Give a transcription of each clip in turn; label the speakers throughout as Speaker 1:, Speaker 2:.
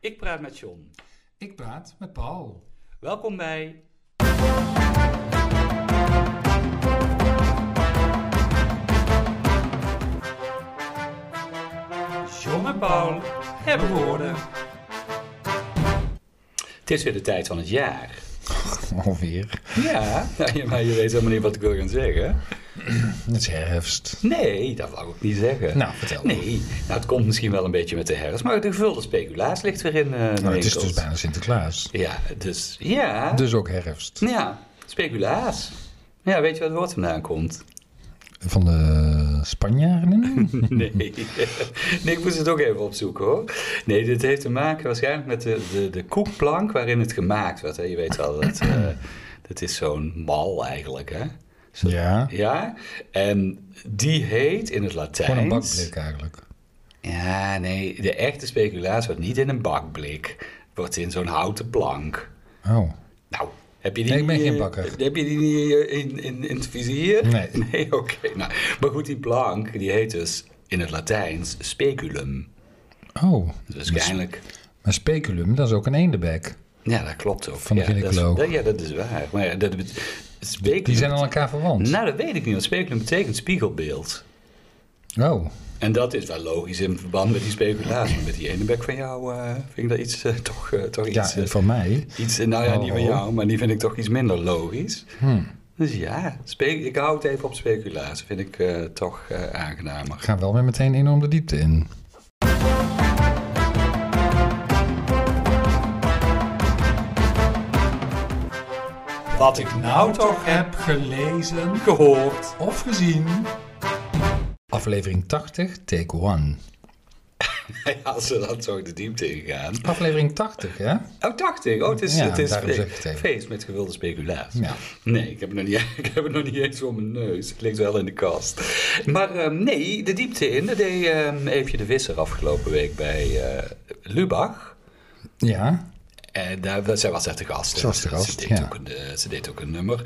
Speaker 1: Ik praat met John.
Speaker 2: Ik praat met Paul.
Speaker 1: Welkom bij. John en Paul hebben woorden. Het is weer de tijd van het jaar.
Speaker 2: Alweer.
Speaker 1: Ja, nou, maar je weet helemaal niet wat ik wil gaan zeggen.
Speaker 2: Het is herfst.
Speaker 1: Nee, dat wou ik niet zeggen.
Speaker 2: Nou, vertel.
Speaker 1: Nee, nou, het komt misschien wel een beetje met de herfst, maar de gevulde speculaas ligt weer in eh, de
Speaker 2: Nou, het is
Speaker 1: winkels.
Speaker 2: dus bijna Sinterklaas.
Speaker 1: Ja, dus ja.
Speaker 2: Dus ook herfst.
Speaker 1: Ja, speculaas. Ja, weet je waar het woord vandaan komt?
Speaker 2: Van de Spanjaarden?
Speaker 1: Nee. nee, ik moest het ook even opzoeken hoor. Nee, dit heeft te maken waarschijnlijk met de, de, de koekplank waarin het gemaakt werd. Hè? Je weet wel, dat, eh, dat is zo'n mal eigenlijk hè. Zo-
Speaker 2: ja.
Speaker 1: Ja, en die heet in het Latijn...
Speaker 2: Gewoon een bakblik eigenlijk.
Speaker 1: Ja, nee, de echte speculaas wordt niet in een bakblik. Wordt in zo'n houten plank.
Speaker 2: Oh.
Speaker 1: Nou, heb je die...
Speaker 2: Nee, ik ben
Speaker 1: niet,
Speaker 2: geen
Speaker 1: eh,
Speaker 2: bakker.
Speaker 1: Heb je die niet eh, in, in, in het vizier?
Speaker 2: Nee.
Speaker 1: Nee, oké. nou, maar goed, die plank, die heet dus in het Latijns speculum.
Speaker 2: Oh.
Speaker 1: Dus waarschijnlijk...
Speaker 2: Maar speculum, dat is ook een eendenbek.
Speaker 1: Ja, dat klopt ook.
Speaker 2: Van de
Speaker 1: ja, dat is-
Speaker 2: gynaecoloog.
Speaker 1: dat- ja, dat is waar. Maar ja, dat, bet- speculum...
Speaker 2: Die zijn aan elkaar verwant.
Speaker 1: Nou, dat weet ik niet, want speculum betekent spiegelbeeld.
Speaker 2: Oh.
Speaker 1: En dat is wel logisch in verband met die speculaas. Maar met die ene bek van jou eh, vind ik dat iets, eh, toch, eh, toch
Speaker 2: Ja,
Speaker 1: iets... eh,
Speaker 2: en van mij.
Speaker 1: Iets, nou ja, niet van
Speaker 2: Oh.
Speaker 1: jou, maar die vind ik toch iets minder logisch.
Speaker 2: Hmm.
Speaker 1: Dus ja, spe- ik hou het even op speculaas. Vind ik eh, toch eh, aangenamer.
Speaker 2: Gaan wel weer meteen enorm de diepte in.
Speaker 1: Wat ik nou
Speaker 2: heb gelezen
Speaker 1: gehoord.
Speaker 2: of gezien. Aflevering 80, take one.
Speaker 1: als ze dan zo de diepte ingaan.
Speaker 2: Aflevering 80, hè?
Speaker 1: Oh, dacht ik. Oh, het is,
Speaker 2: Ja,
Speaker 1: het is
Speaker 2: daarom zeg ik het even.
Speaker 1: feest met gewilde speculaas.
Speaker 2: Ja.
Speaker 1: Nee, ik heb, het nog niet, ik heb het nog niet eens voor mijn neus. Het ligt wel in de kast. Maar ehm, nee, de diepte in. Dat deed ehm, Eefje de Visser afgelopen week bij eh, Lubach.
Speaker 2: Ja.
Speaker 1: En daar, was- zij was echt de gast.
Speaker 2: Ze was de gast,
Speaker 1: ze deed,
Speaker 2: ja.
Speaker 1: ook een, eh, ze deed ook een nummer.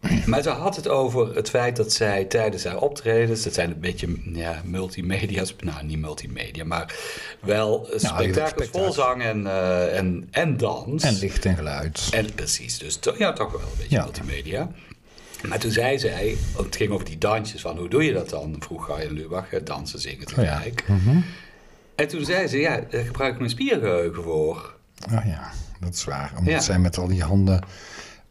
Speaker 1: Maar ze had het over het feit dat zij tijdens haar optredens... dat zijn een beetje ja, multimedia's... nou, niet multimedia, maar
Speaker 2: Nou,
Speaker 1: wel eh, spektakels
Speaker 2: spektakel.
Speaker 1: vol zang en, eh, en, en dans.
Speaker 2: En licht en geluid.
Speaker 1: En precies, dus to- ja, toch wel een beetje
Speaker 2: Ja.
Speaker 1: multimedia. Maar toen zei zij, want het ging over die dansjes, van hoe doe je dat dan? Vroeg ga je Lubach, eh, dansen, zingen
Speaker 2: Oh
Speaker 1: tegelijk.
Speaker 2: Mhm.
Speaker 1: En toen zei ze, ja, daar gebruik ik mijn spiergeheugen voor.
Speaker 2: Oh ja, dat is waar. Omdat
Speaker 1: Ja.
Speaker 2: zij met al die handen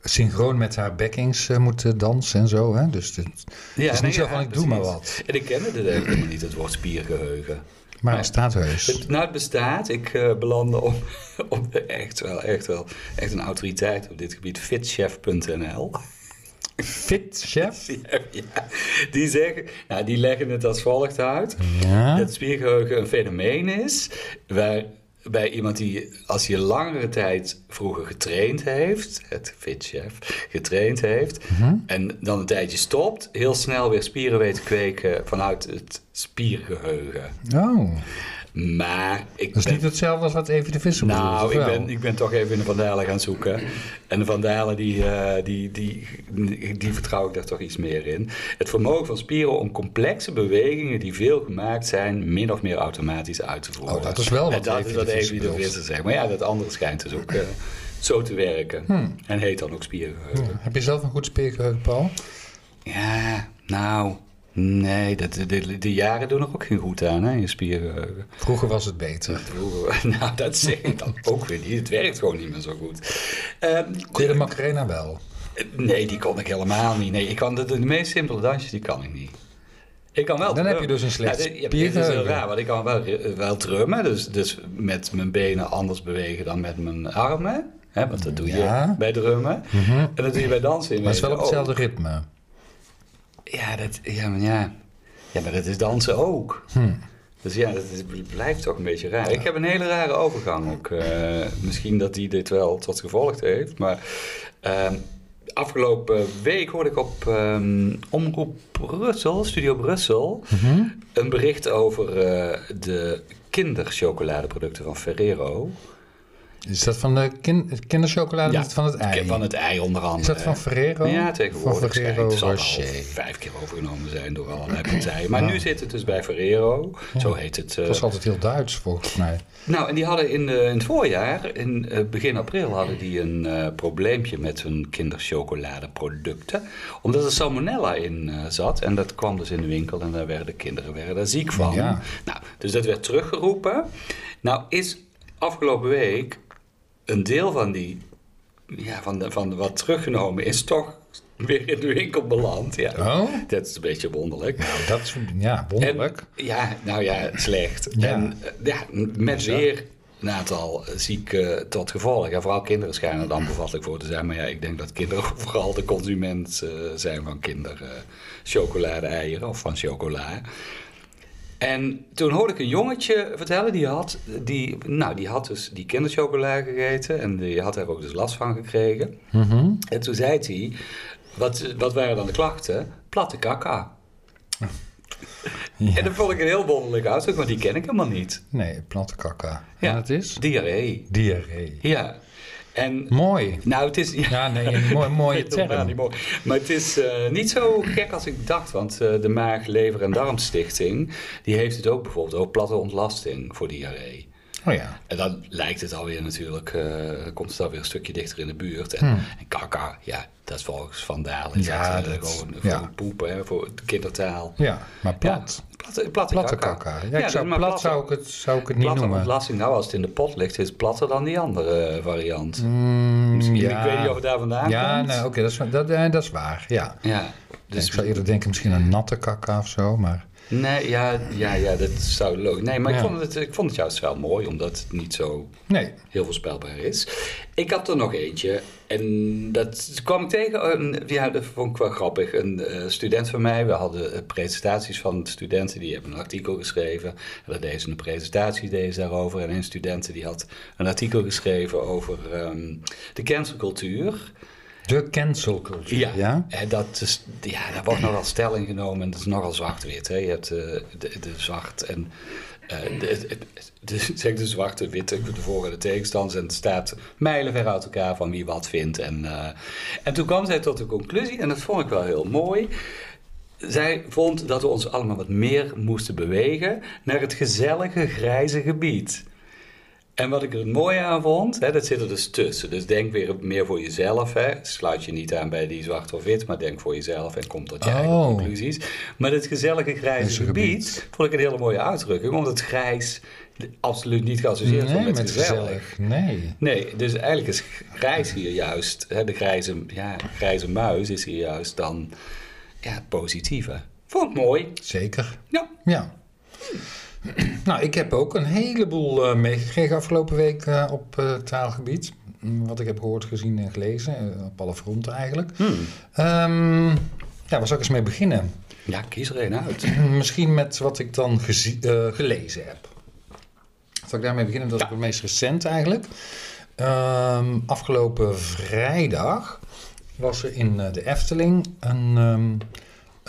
Speaker 2: synchroon met haar backings eh, moeten dansen en zo. Hè? Dus dit, het is
Speaker 1: nee,
Speaker 2: niet zo van ik doe
Speaker 1: precies.
Speaker 2: maar wat.
Speaker 1: En ik kende het eigenlijk helemaal niet, het woord spiergeheugen.
Speaker 2: Maar
Speaker 1: Nee.
Speaker 2: het staat heus.
Speaker 1: Het, nou, het bestaat. Ik eh belandde op, op echt wel, echt wel, echt een autoriteit op dit gebied, fitchef.nl.
Speaker 2: Fit chef.
Speaker 1: Ja, ja. die zeggen, nou, die leggen het als volgt uit.
Speaker 2: Ja.
Speaker 1: Dat spiergeheugen een fenomeen is waar bij iemand die, als je langere tijd vroeger getraind heeft, het fitchef, getraind heeft,
Speaker 2: Mhm.
Speaker 1: en dan een tijdje stopt, heel snel weer spieren weet te kweken vanuit het spiergeheugen.
Speaker 2: Oh,
Speaker 1: Maar ik
Speaker 2: dat is
Speaker 1: ben-
Speaker 2: niet hetzelfde als wat even de vissen
Speaker 1: nou, ik ben, ik ben toch even in de Vandalen gaan zoeken. En de Vandalen, die, eh, die, die, die vertrouw ik daar toch iets meer in. Het vermogen van spieren om complexe bewegingen die veel gemaakt zijn, min of meer automatisch uit te voeren.
Speaker 2: Oh, dat is wel wat
Speaker 1: En dat
Speaker 2: Evie
Speaker 1: is
Speaker 2: de
Speaker 1: wat
Speaker 2: Visser
Speaker 1: Evie de
Speaker 2: bedoelt.
Speaker 1: Visser zegt. Maar ja, dat andere schijnt dus ook eh, zo te werken.
Speaker 2: Hmm.
Speaker 1: En heet dan ook spiergeheugen.
Speaker 2: Ja. Heb je zelf een goed speelgeheugen, Paul?
Speaker 1: Ja, nou, nee, dat, de, de, de jaren doen er ook geen goed aan, hè, je spiergeheugen.
Speaker 2: Vroeger was het beter.
Speaker 1: Vroeger, nou, dat zeg ik dan ook weer niet. Het werkt gewoon niet meer zo goed. Ehm, eh,
Speaker 2: Deed de Macarena wel.
Speaker 1: nee, die kon ik helemaal niet. Nee, ik kan de, de meest simpele dansjes, die kan ik niet. Ik kan wel
Speaker 2: Dan heb je
Speaker 1: trummen.
Speaker 2: dus een slecht
Speaker 1: dit- ja, maar dit is heel
Speaker 2: spiergeheugen.
Speaker 1: raar, want ik kan wel, wel trummen. Dus, dus met mijn benen anders bewegen dan met mijn armen. Hè, want dat doe je
Speaker 2: Ja. Mhm.
Speaker 1: bij drummen. En dat doe je bij dansen.
Speaker 2: Maar het is wel op
Speaker 1: inwezen.
Speaker 2: hetzelfde ritme.
Speaker 1: Ja, dat, ja, maar ja. ja, maar dat is dansen ook.
Speaker 2: Hm.
Speaker 1: Dus ja, dat is- blijft toch een beetje raar. Ik heb een hele rare overgang ook. eh, misschien dat die dit wel tot gevolg heeft. Maar ehm, afgelopen week hoorde ik op ehm, Omroep Brussel, Studio Brussel,
Speaker 2: Mhm.
Speaker 1: een bericht over eh, de kinderchocoladeproducten van Ferrero.
Speaker 2: Is dat van de kin- kinderchocolade
Speaker 1: Ja,
Speaker 2: of van het ei?
Speaker 1: Van het ei onder andere.
Speaker 2: Is dat van Ferrero?
Speaker 1: Ja, tegenwoordig.
Speaker 2: Van Ferrero
Speaker 1: schijnt. zal al
Speaker 2: Rocher.
Speaker 1: vijf keer overgenomen zijn door allerlei partijen. Maar nu zit het dus bij Ferrero. Zo heet het. eh,
Speaker 2: Dat was altijd heel Duits volgens mij.
Speaker 1: Nou, en die hadden in, de, in het voorjaar, in eh, begin april, hadden die een eh, probleempje met hun kinderchocoladeproducten. Omdat er salmonella in eh, zat. En dat kwam dus in de winkel en daar werden de kinderen werden daar ziek van.
Speaker 2: Ja.
Speaker 1: Nou, dus dat werd teruggeroepen. Nou is afgelopen week een deel van die, ja, van, de, van wat teruggenomen is toch weer in de winkel beland. Ja,
Speaker 2: Oh,
Speaker 1: dat is een beetje wonderlijk.
Speaker 2: dat is ja, wonderlijk.
Speaker 1: En- ja, nou ja, slecht.
Speaker 2: Ja.
Speaker 1: En eh, ja, met
Speaker 2: Bizar.
Speaker 1: weer een aantal zieken eh, tot gevolg. En vooral kinderen schijnen er dan bevattelijk voor te zijn. Maar ja, ik denk dat kinderen vooral de consument eh, zijn van kinderchocolade-eieren of van chocola. En toen hoorde ik een jongetje vertellen, die had, die, nou, die had dus die kinderchocola gegeten en die had daar ook dus last van gekregen.
Speaker 2: Mhm.
Speaker 1: En toen zei hij, wat, wat waren dan de klachten? Platte kaka.
Speaker 2: Ja.
Speaker 1: En dat vond ik een heel wonderlijk uitdruk, want die ken ik helemaal niet.
Speaker 2: Nee, plantenkakka.
Speaker 1: Ja.
Speaker 2: En het is?
Speaker 1: Diarree.
Speaker 2: Diarree.
Speaker 1: Ja. En
Speaker 2: Mooi.
Speaker 1: nou, het is... Ja,
Speaker 2: Ja, nee, een mooi, mooie
Speaker 1: het is helemaal niet
Speaker 2: term.
Speaker 1: mooi. Maar het is eh, niet zo gek als ik dacht, want eh, de Maag, Lever en Darmstichting, die heeft het ook bijvoorbeeld, ook platte ontlasting voor diarree.
Speaker 2: Oh ja.
Speaker 1: En dan lijkt het alweer natuurlijk, eh, komt het alweer een stukje dichter in de buurt. En, en kaka, ja, dat is volgens Van Dalen. is
Speaker 2: Hmm. Ja,
Speaker 1: dat, eh,
Speaker 2: dat-
Speaker 1: gewoon
Speaker 2: ja.
Speaker 1: voor poepen, hè, voor kindertaal.
Speaker 2: Ja, maar plat.
Speaker 1: Ja, platte, platte,
Speaker 2: Platte
Speaker 1: kaka.
Speaker 2: kakka. Ja,
Speaker 1: Ja,
Speaker 2: ik zou,
Speaker 1: maar
Speaker 2: plat
Speaker 1: platte-
Speaker 2: zou ik het, zou ik het niet
Speaker 1: Platte
Speaker 2: noemen.
Speaker 1: ontlasting, nou als het in de pot ligt, is het platter dan die andere eh, variant.
Speaker 2: Mm,
Speaker 1: Ik weet niet of het daar vandaan
Speaker 2: Ja,
Speaker 1: komt.
Speaker 2: nee, oké, dat, is, dat, eh, dat is waar. Ja.
Speaker 1: Ja,
Speaker 2: Dus ik
Speaker 1: dus
Speaker 2: zou eerder denken misschien een natte kakka of zo, maar
Speaker 1: nee, ja, ja, ja, dat zou leuk. Nee, maar
Speaker 2: Ja.
Speaker 1: ik, vond het, ik vond het juist wel mooi, omdat het niet zo
Speaker 2: nee.
Speaker 1: heel voorspelbaar is. Ik had er nog eentje en dat kwam ik tegen. Een, ja, dat vond ik wel grappig. Een eh, student van mij, we hadden eh, presentaties van studenten, die hebben een artikel geschreven. En daar deden ze een presentatie deden ze daarover. En een student die had een artikel geschreven over ehm, de cancelcultuur.
Speaker 2: De cancelcultuur.
Speaker 1: Ja,
Speaker 2: ja?
Speaker 1: En dat is, ja, daar wordt nogal stelling genomen en dat is nogal zwart-wit. Hè? Je hebt eh, de, de zwart en eh, de, de, de- zeg de zwarte, witte, de voor- en de tegenstanders. En het staat mijlenver uit elkaar van wie wat vindt. En, eh, en toen kwam zij tot de conclusie, en dat vond ik wel heel mooi. Zij vond dat we ons allemaal wat meer moesten bewegen naar het gezellige grijze gebied. En wat ik er mooi aan vond, hè, dat zit er dus tussen. Dus denk weer meer voor jezelf. Hè. Sluit je niet aan bij die zwart of wit, maar denk voor jezelf en kom tot je eigen
Speaker 2: Oh.
Speaker 1: conclusies. Maar dit gezellige grijze
Speaker 2: Grijze
Speaker 1: gebied,
Speaker 2: gebied.
Speaker 1: vond ik een hele mooie uitdrukking, omdat grijs absoluut niet geassocieerd wordt
Speaker 2: Nee,
Speaker 1: Dus met,
Speaker 2: met
Speaker 1: gezellig.
Speaker 2: gezellig. Nee.
Speaker 1: Nee, dus eigenlijk is grijs hier juist, hè, de grijze, ja, grijze muis is hier juist dan ja, het positieve. Vond ik mooi.
Speaker 2: Zeker.
Speaker 1: Ja.
Speaker 2: Ja. Nou, ik heb ook een heleboel eh, meegekregen afgelopen week eh, op eh, taalgebied. Mm, Wat ik heb gehoord, gezien en gelezen. eh, op alle fronten eigenlijk. Ehm, ja, waar zou ik eens mee beginnen?
Speaker 1: Ja, kies er een uit.
Speaker 2: Misschien met wat ik dan gezi- eh, gelezen heb. Zal ik daarmee beginnen? Dat is ook het meest recent eigenlijk. Ehm, afgelopen vrijdag was er in eh, de Efteling een ehm,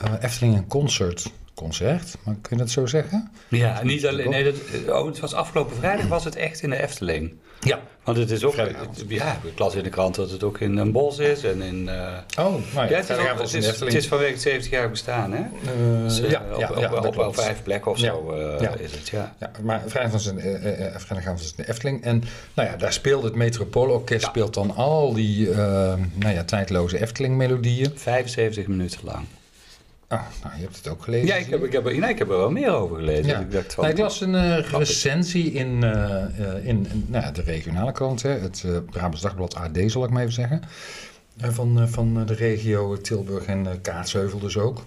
Speaker 2: eh, Efteling een concert. Concert, maar kun je dat zo zeggen?
Speaker 1: Ja, niet alleen. Nee, dat, oh, het was afgelopen vrijdag was het echt in de Efteling.
Speaker 2: Ja.
Speaker 1: Want het is ook.
Speaker 2: Vrijdagavond.
Speaker 1: Ja, ik las in de krant dat het ook in een bos is en in. eh,
Speaker 2: Oh, nou
Speaker 1: ja,
Speaker 2: ja,
Speaker 1: het is, ook-
Speaker 2: vrijdagavond
Speaker 1: het,
Speaker 2: was in
Speaker 1: is,
Speaker 2: de
Speaker 1: het
Speaker 2: Efteling.
Speaker 1: is vanwege het 70 jaar bestaan, hè?
Speaker 2: Eh,
Speaker 1: Dus, eh,
Speaker 2: ja,
Speaker 1: op,
Speaker 2: ja,
Speaker 1: op,
Speaker 2: ja,
Speaker 1: op,
Speaker 2: dat
Speaker 1: op wel
Speaker 2: klopt.
Speaker 1: vijf plekken of
Speaker 2: Ja.
Speaker 1: zo eh,
Speaker 2: Ja.
Speaker 1: is het, ja.
Speaker 2: Ja, maar vrijdag was, in, eh, eh, vrijdagavond was het in de Efteling. En nou ja, daar speelde het Metropoolorkest speelt dan al die eh, nou ja, tijdloze Efteling-melodieën.
Speaker 1: 75 minuten lang.
Speaker 2: Ah, nou, je hebt het ook gelezen.
Speaker 1: Ja, ik heb, ik heb, er- nee, ik heb er wel meer over gelezen.
Speaker 2: Ja.
Speaker 1: Ik dacht van,
Speaker 2: Nou, ik las een eh, recensie in, eh, eh, in, in, nou, ja, de regionale krant, hè, het eh Brabants Dagblad AD zal ik maar even zeggen. Eh, van, eh, van eh, de regio Tilburg en eh, Kaatsheuvel dus ook.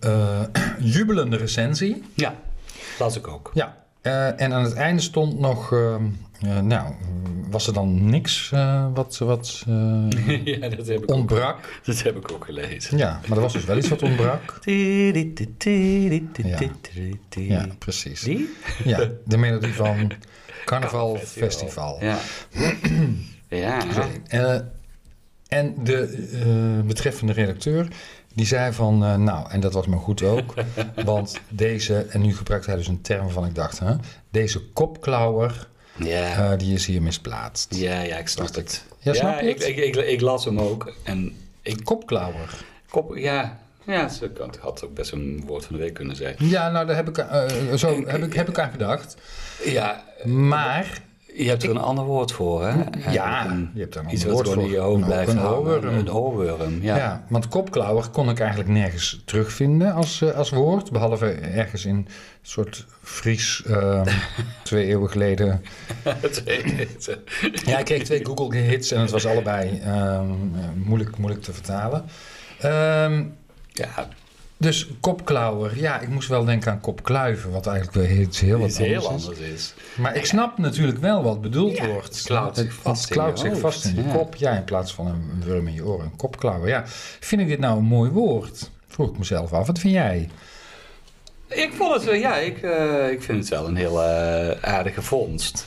Speaker 2: Eh, jubelende recensie.
Speaker 1: Ja, las ik ook.
Speaker 2: Ja. eh, en aan het einde stond nog, ehm, eh, nou, was er dan niks eh, wat, wat eh,
Speaker 1: ja, dat heb, ik ook,
Speaker 2: ontbrak?
Speaker 1: dat heb ik ook gelezen.
Speaker 2: Ja, maar er was dus wel iets wat ontbrak. Ja, precies.
Speaker 1: Die?
Speaker 2: Ja, de melodie van Carnaval Festival.
Speaker 1: Ja. ja.
Speaker 2: Eh, en de eh, betreffende redacteur, die zei van, eh, nou, en dat was maar goed ook, want deze, en nu gebruikt hij dus een term van, ik dacht, hè, deze kopklauwer
Speaker 1: Ja,
Speaker 2: eh, die is hier misplaatst.
Speaker 1: ja, ja ik snap
Speaker 2: Dacht ik.
Speaker 1: het.
Speaker 2: Ja, snap je
Speaker 1: ik,
Speaker 2: het?
Speaker 1: ik, ik, ik las hem ook. En ik
Speaker 2: Kopklauwer.
Speaker 1: kop, ja, ja, ze kan- het had ook best een woord van de week kunnen zijn.
Speaker 2: Ja, nou, daar heb ik, eh, zo heb ik, heb ik aan gedacht.
Speaker 1: Ja,
Speaker 2: Maar,
Speaker 1: je hebt er een ander woord voor, hè?
Speaker 2: ja,
Speaker 1: Een-
Speaker 2: Eh, je hebt daar een
Speaker 1: Iets
Speaker 2: ander
Speaker 1: wat
Speaker 2: woord
Speaker 1: gewoon in
Speaker 2: voor.
Speaker 1: je hoofd
Speaker 2: Een
Speaker 1: blijft hangen.
Speaker 2: oorworm.
Speaker 1: Een oorworm, ja.
Speaker 2: ja. want kopklauwer kon ik eigenlijk nergens terugvinden als, eh, als woord. Behalve ergens in een soort Fries, eh, twee eeuwen geleden. Ja, ik kreeg twee Google hits en het was allebei ehm, eh, moeilijk, moeilijk te vertalen. Ehm,
Speaker 1: ja,
Speaker 2: dus kopklauwer, ja, ik moest wel denken aan kopkluiven, wat eigenlijk weer iets heel wat
Speaker 1: iets heel
Speaker 2: anders is.
Speaker 1: anders is.
Speaker 2: Maar ik snap natuurlijk wel wat bedoeld
Speaker 1: Ja,
Speaker 2: wordt.
Speaker 1: het klauwt zich
Speaker 2: Het- het
Speaker 1: vast in
Speaker 2: klauwt
Speaker 1: je
Speaker 2: zich
Speaker 1: hoofd,
Speaker 2: vast in je
Speaker 1: ja.
Speaker 2: kop. Ja, in plaats van een wurm in je oren, een kopklauwer. Ja, vind ik dit nou een mooi woord? Vroeg ik mezelf af. Wat vind jij?
Speaker 1: Ik vond het, eh, ja, ik, eh, ik vind het wel een heel eh, aardige vondst.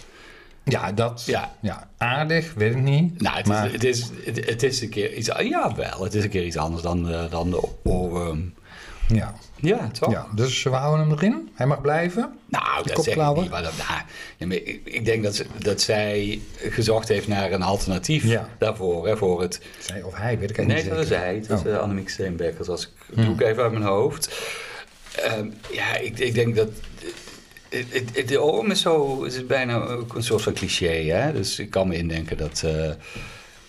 Speaker 2: Ja, dat...
Speaker 1: Ja.
Speaker 2: aardig, weet ik niet.
Speaker 1: Nou, het,
Speaker 2: Maar-
Speaker 1: is, het, is, het, het is een keer iets... Ja, wel. Het is een keer iets anders dan de, dan de oorworm.
Speaker 2: Ja,
Speaker 1: Ja, toch?
Speaker 2: ja. dus we houden hem erin. Hij mag blijven.
Speaker 1: Nou, dat zeg ik
Speaker 2: kopklauwen?
Speaker 1: niet. Maar dat, nou, ja, maar ik, ik denk dat, ze, dat zij gezocht heeft naar een alternatief
Speaker 2: Ja.
Speaker 1: daarvoor. Hè, voor het,
Speaker 2: Zij of hij, weet ik eigenlijk
Speaker 1: nee,
Speaker 2: niet
Speaker 1: dat is
Speaker 2: zeker.
Speaker 1: hij. Dat is
Speaker 2: Oh. Hm.
Speaker 1: eh, Annemiek Steenbekkers. Als ik, doe ik even uit mijn hoofd. Ehm, ja, ik, ik denk dat... Het, het, het, de oorworm is, zo, is het bijna ook een soort van cliché. Hè? Dus ik kan me indenken dat... eh,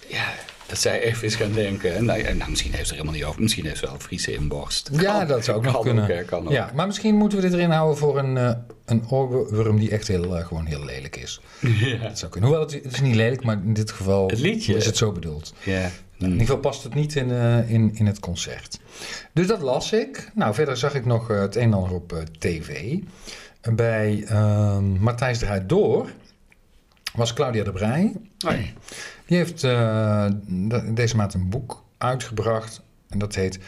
Speaker 1: ja, dat zij even is gaan denken. En, nou, ja, nou, misschien heeft ze er helemaal niet over. Misschien heeft ze wel een Friese inborst.
Speaker 2: Ja,
Speaker 1: Kan-
Speaker 2: dat zou ook
Speaker 1: kan
Speaker 2: nog kunnen.
Speaker 1: hè, kan ook.
Speaker 2: Ja, maar misschien moeten we dit erin houden voor een, eh, een oorworm die echt heel, eh, gewoon heel lelijk is.
Speaker 1: Ja.
Speaker 2: Dat zou kunnen. Hoewel, het, het is niet lelijk, maar in dit geval
Speaker 1: Het liedje.
Speaker 2: is het zo bedoeld.
Speaker 1: Ja. Hm.
Speaker 2: In ieder geval past het niet in, eh, in, in het concert. Dus dat las ik. Nou, verder zag ik nog eh, het een en ander op eh, tv. En Bij ehm, Matthijs Draait Door was Claudia de Brij.
Speaker 1: Nee.
Speaker 2: Die heeft eh, de- deze maand een boek uitgebracht. En dat heet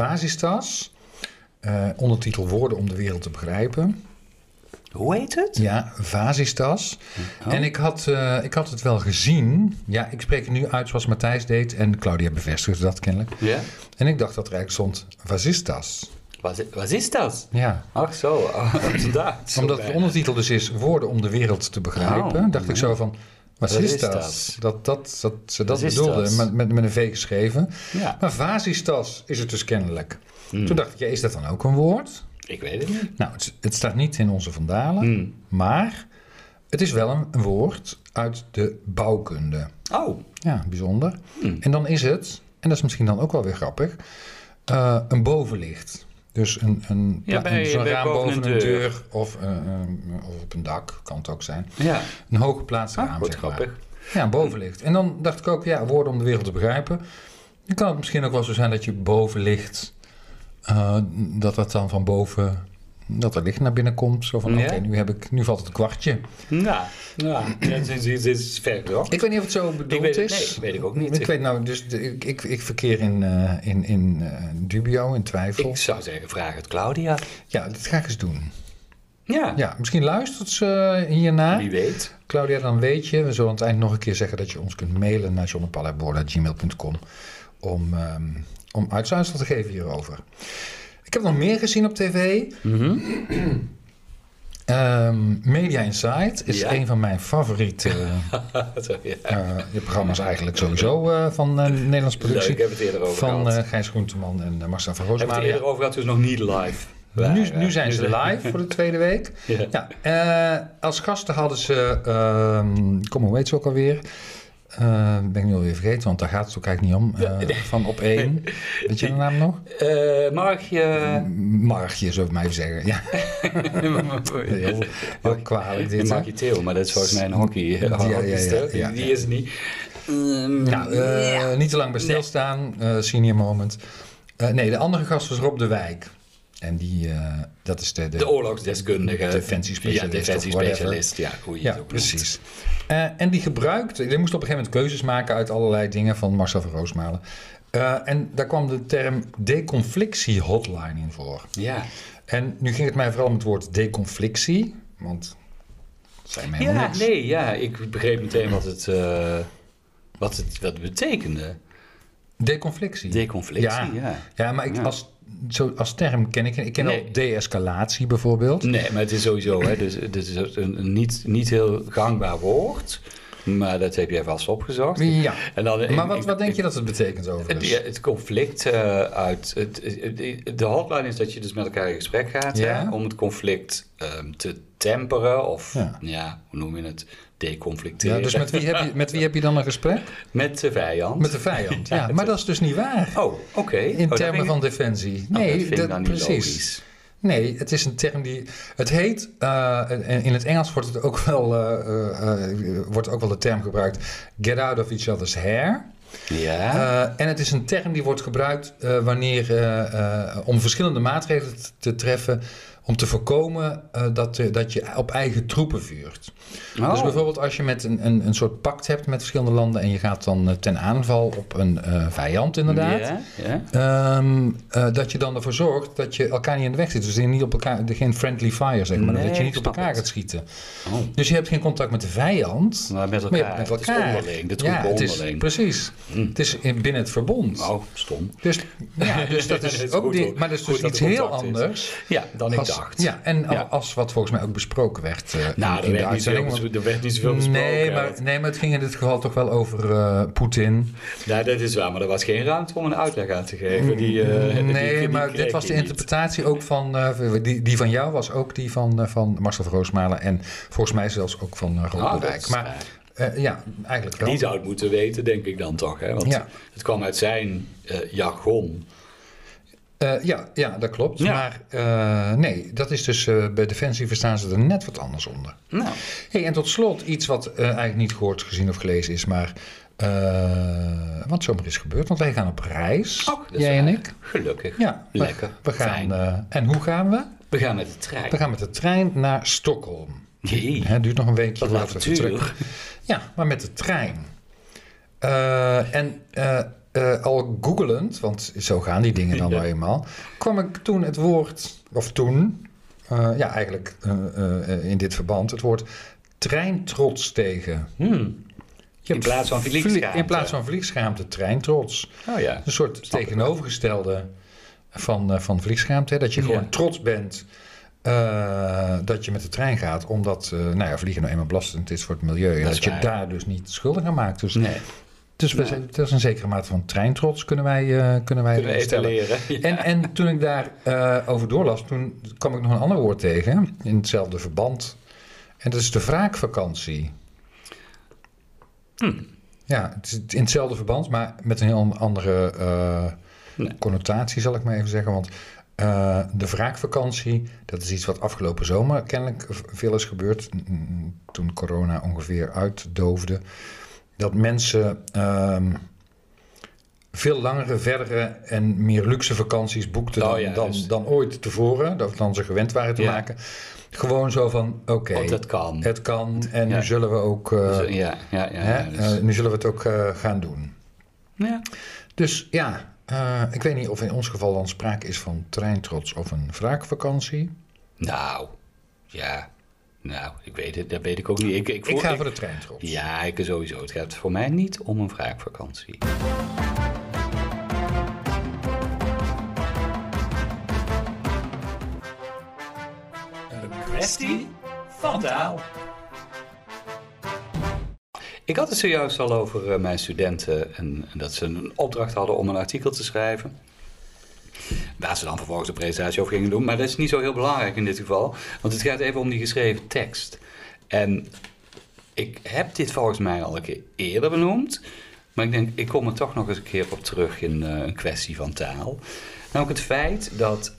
Speaker 2: Vasistas. Eh, ondertitel Woorden om de wereld te begrijpen.
Speaker 1: Hoe heet het?
Speaker 2: Ja, Vasistas. En ik had, eh, ik had het wel gezien. Ja, ik spreek het nu uit zoals Matthijs deed. En Claudia bevestigde dat kennelijk.
Speaker 1: Ja?
Speaker 2: En ik dacht dat er eigenlijk stond Vasistas.
Speaker 1: Wat, wat is dat?
Speaker 2: Ja.
Speaker 1: Ach zo, oh, op z'n Duits.
Speaker 2: Omdat de ondertitel dus is Woorden om de wereld te begrijpen.
Speaker 1: Oh,
Speaker 2: dacht ik zo van, wat
Speaker 1: Wat
Speaker 2: is
Speaker 1: is
Speaker 2: dat?
Speaker 1: dat?
Speaker 2: Dat, dat, dat ze dat
Speaker 1: Wat is
Speaker 2: bedoelde,
Speaker 1: dat?
Speaker 2: met, met, met een V geschreven.
Speaker 1: Ja.
Speaker 2: Maar vasistas is het dus kennelijk. Toen dacht ik, ja, is dat dan ook een woord?
Speaker 1: Ik weet het niet.
Speaker 2: Nou, het, het staat niet in onze vandalen,
Speaker 1: Hmm.
Speaker 2: maar het is wel een, een woord uit de bouwkunde.
Speaker 1: Oh,
Speaker 2: Ja, bijzonder.
Speaker 1: Hmm.
Speaker 2: En dan is het, en dat is misschien dan ook wel weer grappig, eh, een bovenlicht. Dus een, een,
Speaker 1: Ja, bij-
Speaker 2: een- zo'n
Speaker 1: bij
Speaker 2: raam
Speaker 1: boven
Speaker 2: boven
Speaker 1: een
Speaker 2: een deur, of, eh, eh, of op een dak, kan het ook zijn.
Speaker 1: ja.
Speaker 2: Een hooggeplaatst
Speaker 1: Ah,
Speaker 2: raam,
Speaker 1: wordt
Speaker 2: zeg maar.
Speaker 1: grappig.
Speaker 2: Ja, bovenlicht. En dan dacht ik ook, ja, woorden om de wereld te begrijpen. Dan kan het misschien ook wel zo zijn dat je bovenlicht, eh, dat dat dan van boven, dat er licht naar binnen komt. Zo van,
Speaker 1: Ja.
Speaker 2: oké, nu heb ik, nu valt het een kwartje.
Speaker 1: Nou, nou, dit is, dit is ver, toch?
Speaker 2: Ik weet niet of het zo bedoeld
Speaker 1: weet het-
Speaker 2: is.
Speaker 1: nee, weet ik ook niet.
Speaker 2: Ik weet nou, dus de- ik, ik, ik verkeer in, eh, in, in eh, dubio, in twijfel.
Speaker 1: Ik zou zeggen, vraag het Claudia.
Speaker 2: Ja, dat ga ik eens doen.
Speaker 1: Ja,
Speaker 2: Ja, misschien luistert ze eh, hierna.
Speaker 1: wie weet.
Speaker 2: Claudia, dan weet je, we zullen aan het eind nog een keer zeggen dat je ons kunt mailen naar johnnepalherboard.gmail.com om, ehm om uitsluitsel te geven hierover. Ik heb nog meer gezien op tv. Ehm, Media Insight is
Speaker 1: Ja.
Speaker 2: een van mijn favoriete
Speaker 1: Zo, ja.
Speaker 2: eh, programma's eigenlijk sowieso eh, van eh,
Speaker 1: Leuk,
Speaker 2: Nederlandse productie.
Speaker 1: ik heb het eerder over
Speaker 2: van
Speaker 1: gehad.
Speaker 2: eh, Gijs Groenteman en eh, Marcel van
Speaker 1: heb het
Speaker 2: Roosmalen.
Speaker 1: eerder over gehad, dus nog niet live. eh,
Speaker 2: Ja. Nu,
Speaker 1: waren.
Speaker 2: nu zijn ze live voor de tweede week.
Speaker 1: Ja.
Speaker 2: Ja, eh, als gasten hadden ze, ehm, kom hoe heet ze ook alweer? Eh, ben ik nu alweer vergeten, want daar gaat het ook eigenlijk niet om. Eh, Van op één. Weet je de naam nog?
Speaker 1: Eh, Margje...
Speaker 2: Margje, zo mij even zeggen. Ja, heel, heel kwalijk dit. hè?
Speaker 1: Margje Theo, maar dat is volgens mij een hockey.
Speaker 2: ja, ja,
Speaker 1: hockeyster. Die-
Speaker 2: ja,
Speaker 1: Die
Speaker 2: ja.
Speaker 1: is het niet. Ehm,
Speaker 2: Nou, eh, niet te lang bij stilstaan. eh, senior moment. Eh, nee, de andere gast was Rob de Wijk. En die, eh, dat is de... de-
Speaker 1: De oorlogsdeskundige.
Speaker 2: Defensiespecialist
Speaker 1: Ja, defensiespecialist. Ja, hoe je
Speaker 2: ja,
Speaker 1: het ook noemt.
Speaker 2: precies. Eh, en die gebruikte... Die moest op een gegeven moment keuzes maken uit allerlei dingen van Marcel van Roosmalen. Eh, en daar kwam de term deconflictie hotline in voor.
Speaker 1: Ja.
Speaker 2: En nu ging het mij vooral om het woord deconflictie. Want het zei mij helemaal
Speaker 1: Ja,
Speaker 2: niks.
Speaker 1: nee, ja. Ik begreep meteen wat het, eh, wat het wat het betekende.
Speaker 2: Deconflictie.
Speaker 1: Deconflictie, ja.
Speaker 2: Ja, maar ik,
Speaker 1: Ja.
Speaker 2: als zo als term ken ik. Ik ken
Speaker 1: Nee.
Speaker 2: al de-escalatie bijvoorbeeld.
Speaker 1: Nee, maar het is sowieso, hè, dus, dit is een, een niet, niet heel gangbaar woord. Maar dat heb jij vast opgezocht.
Speaker 2: Ja.
Speaker 1: En dan,
Speaker 2: Maar wat,
Speaker 1: ik-
Speaker 2: wat denk je dus? dat het betekent
Speaker 1: Het,
Speaker 2: overigens?
Speaker 1: ja, het conflict eh, uit. Het, het- de hotline is dat je dus met elkaar in gesprek gaat
Speaker 2: Ja.
Speaker 1: hè, om het conflict ehm, te temperen of
Speaker 2: Ja.
Speaker 1: ja. hoe noem je het? Deconflicteren.
Speaker 2: Ja, dus met wie, heb je, met wie heb je dan een gesprek?
Speaker 1: Met de vijand.
Speaker 2: Met de vijand. Ja, maar dat is dus niet waar.
Speaker 1: Oh, oké.
Speaker 2: In termen van defensie. Nee,
Speaker 1: oh, dat vind ik
Speaker 2: dat-
Speaker 1: dan niet
Speaker 2: precies.
Speaker 1: logisch.
Speaker 2: Nee, het is een term die. Het heet. eh, in in het Engels wordt het ook wel. eh, eh, eh, wordt ook wel de term gebruikt. Get out of each other's hair.
Speaker 1: Ja.
Speaker 2: Eh, en het is een term die wordt gebruikt eh, wanneer, eh, eh, om verschillende maatregelen t- te treffen om te voorkomen eh, dat, eh, dat je op eigen troepen vuurt.
Speaker 1: Oh.
Speaker 2: Dus bijvoorbeeld als je met een, een, een soort pact hebt met verschillende landen en je gaat dan eh, ten aanval op een eh, vijand inderdaad.
Speaker 1: Ja, ja.
Speaker 2: Ehm, eh, dat je dan ervoor zorgt dat je elkaar niet in de weg zit. Dus dat je niet op elkaar, geen friendly fire zeg maar.
Speaker 1: Nee,
Speaker 2: dat je niet
Speaker 1: ik
Speaker 2: op
Speaker 1: snap
Speaker 2: elkaar
Speaker 1: het.
Speaker 2: gaat schieten.
Speaker 1: Oh.
Speaker 2: Dus je hebt geen contact met de vijand.
Speaker 1: Maar met
Speaker 2: Maar
Speaker 1: elkaar.
Speaker 2: je hebt met
Speaker 1: het is
Speaker 2: elkaar.
Speaker 1: onderling. De
Speaker 2: ja,
Speaker 1: troepen
Speaker 2: het is,
Speaker 1: onderling. Hmm.
Speaker 2: precies. Het is in- binnen het verbond.
Speaker 1: Oh, stom.
Speaker 2: Dus, ja, dus dat is,
Speaker 1: Dat is
Speaker 2: ook
Speaker 1: goed
Speaker 2: die-
Speaker 1: ook.
Speaker 2: maar dat is
Speaker 1: Goed
Speaker 2: dus
Speaker 1: dat
Speaker 2: iets
Speaker 1: er
Speaker 2: heel
Speaker 1: contact is.
Speaker 2: anders.
Speaker 1: Ja, dan ik
Speaker 2: als-
Speaker 1: dacht.
Speaker 2: Ja, en al-
Speaker 1: Ja.
Speaker 2: als wat volgens mij ook besproken werd. eh,
Speaker 1: Nou, er
Speaker 2: in de
Speaker 1: werd, niet
Speaker 2: uitzending,
Speaker 1: veel,
Speaker 2: want-
Speaker 1: er werd niet zoveel besproken.
Speaker 2: nee,
Speaker 1: hè.
Speaker 2: maar, nee, maar het ging in dit geval toch wel over eh, Poetin.
Speaker 1: Ja, dat is waar, maar er was geen ruimte om een uitleg aan te geven. Die, eh, die-
Speaker 2: nee,
Speaker 1: die
Speaker 2: maar
Speaker 1: kreeg
Speaker 2: dit was de
Speaker 1: je niet.
Speaker 2: interpretatie ook van. eh, die, die van jou was ook die van, eh, van Marcel van Roosmalen. En volgens mij zelfs ook van uh,
Speaker 1: Ah, dat is
Speaker 2: maar
Speaker 1: waar.
Speaker 2: eh, ja, eigenlijk wel.
Speaker 1: Die zou het moeten weten, denk ik dan toch. Hè? Want
Speaker 2: Ja.
Speaker 1: het kwam uit zijn eh, jargon.
Speaker 2: Eh, ja, ja, dat klopt.
Speaker 1: Ja.
Speaker 2: Maar eh, nee, dat is dus. eh, bij Defensie verstaan ze er net wat anders onder.
Speaker 1: Nou,
Speaker 2: Hey, en tot slot iets wat eh, eigenlijk niet gehoord, gezien of gelezen is, maar eh, wat zomaar is gebeurd. Want wij gaan op reis, jij en ik.
Speaker 1: Gelukkig.
Speaker 2: Ja, we-
Speaker 1: Lekker.
Speaker 2: We gaan,
Speaker 1: Fijn.
Speaker 2: eh, en hoe gaan we?
Speaker 1: We gaan met de trein.
Speaker 2: We gaan met de trein naar Stockholm.
Speaker 1: Jee,
Speaker 2: Het duurt nog een
Speaker 1: wat
Speaker 2: weekje
Speaker 1: een
Speaker 2: voordat we vertrekken.
Speaker 1: avontuur.
Speaker 2: Ja, maar met de trein. Eh, en eh, eh, al googelend, want zo gaan die dingen dan
Speaker 1: Ja.
Speaker 2: wel eenmaal, kwam ik toen het woord, of toen, eh, ja eigenlijk eh, eh, eh, in dit verband, het woord treintrots tegen.
Speaker 1: Hmm.
Speaker 2: Je
Speaker 1: In
Speaker 2: hebt
Speaker 1: plaats van
Speaker 2: vlie-
Speaker 1: vliegschaamte.
Speaker 2: In plaats van vliegschaamte, treintrots.
Speaker 1: Oh ja.
Speaker 2: Een soort
Speaker 1: Snap ik
Speaker 2: tegenovergestelde van, eh, van vliegschaamte. hè. Dat je
Speaker 1: Ja.
Speaker 2: gewoon trots bent eh, dat je met de trein gaat. Omdat eh, nou ja, vliegen nou eenmaal belastend is voor het milieu. en
Speaker 1: Dat
Speaker 2: dat
Speaker 1: is
Speaker 2: je
Speaker 1: waar.
Speaker 2: daar dus niet schuldig aan maakt. Dus,
Speaker 1: Nee,
Speaker 2: dus we
Speaker 1: Ja.
Speaker 2: zijn, dat is een zekere mate van treintrots kunnen wij, eh, kunnen wij
Speaker 1: kunnen we
Speaker 2: stellen.
Speaker 1: etaleren. Ja.
Speaker 2: En, en toen ik daarover over doorlas, toen kwam ik nog een ander woord tegen. In hetzelfde verband. En dat is de wraakvakantie.
Speaker 1: Hmm.
Speaker 2: Ja, het is in hetzelfde verband, maar met een heel andere eh,
Speaker 1: Nee.
Speaker 2: connotatie, zal ik maar even zeggen. Want eh, de wraakvakantie, dat is iets wat afgelopen zomer kennelijk v- veel is gebeurd. mm, Toen corona ongeveer uitdoofde. Dat mensen ehm, veel langere, verdere en meer luxe vakanties boekten
Speaker 1: Oh
Speaker 2: dan,
Speaker 1: ja,
Speaker 2: dan,
Speaker 1: dus-
Speaker 2: dan ooit tevoren. Dat dan ze gewend waren te
Speaker 1: Ja.
Speaker 2: maken. Gewoon zo van, oké,
Speaker 1: Want dat kan.
Speaker 2: het kan en
Speaker 1: Ja.
Speaker 2: nu zullen we ook... eh,
Speaker 1: Dus, eh, ja, ja, ja. ja,
Speaker 2: Hè?
Speaker 1: dus-
Speaker 2: Eh, nu zullen we het ook eh, gaan doen.
Speaker 1: ja.
Speaker 2: Dus ja, eh, ik weet niet of in ons geval dan sprake is van treintrots of een wraakvakantie.
Speaker 1: Nou, ja. Nou, ik weet het, dat weet ik ook niet. Ik, ik,
Speaker 2: Ik
Speaker 1: voel-
Speaker 2: ga
Speaker 1: ik-
Speaker 2: voor de treintrots.
Speaker 1: Ja, ik sowieso. Het gaat voor mij niet om een wraakvakantie.
Speaker 2: Een
Speaker 1: kwestie van taal. Ik had het zojuist al over eh, mijn studenten en, en dat ze een opdracht hadden om een artikel te schrijven. Waar ze dan vervolgens een presentatie over gingen doen. Maar dat is niet zo heel belangrijk in dit geval. Want het gaat even om die geschreven tekst. En ik heb dit volgens mij al een keer eerder benoemd. Maar ik denk, ik kom er toch nog eens een keer op terug in eh, een kwestie van taal. Namelijk het feit dat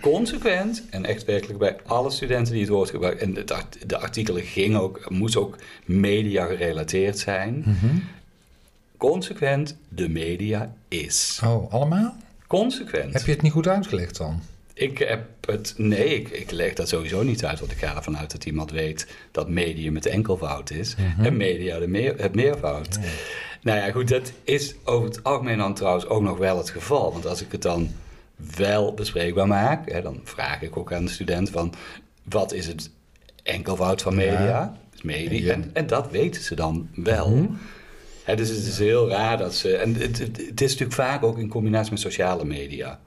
Speaker 1: consequent en echt werkelijk bij alle studenten die het woord gebruiken. En het art- de artikelen gingen ook, moest ook media gerelateerd zijn. Consequent de media is.
Speaker 2: Oh, allemaal?
Speaker 1: Consequent.
Speaker 2: Heb je het niet goed uitgelegd dan?
Speaker 1: Ik heb het. Nee, ik, ik leg dat sowieso niet uit. Want ik ga ervan uit dat iemand weet dat medium het enkelvoud is.
Speaker 2: Mhm.
Speaker 1: En media de meer, het meervoud. Nou ja, goed, dat is over het algemeen dan trouwens ook nog wel het geval. Want als ik het dan wel bespreekbaar maak, hè, dan vraag ik ook aan de student van wat is het enkelvoud van media?
Speaker 2: Ja.
Speaker 1: Dus media.
Speaker 2: Ja. Mhm.
Speaker 1: En, en dat weten ze dan wel. Hè, dus het is heel raar dat ze. En het, het, het is natuurlijk vaak ook in combinatie met sociale media.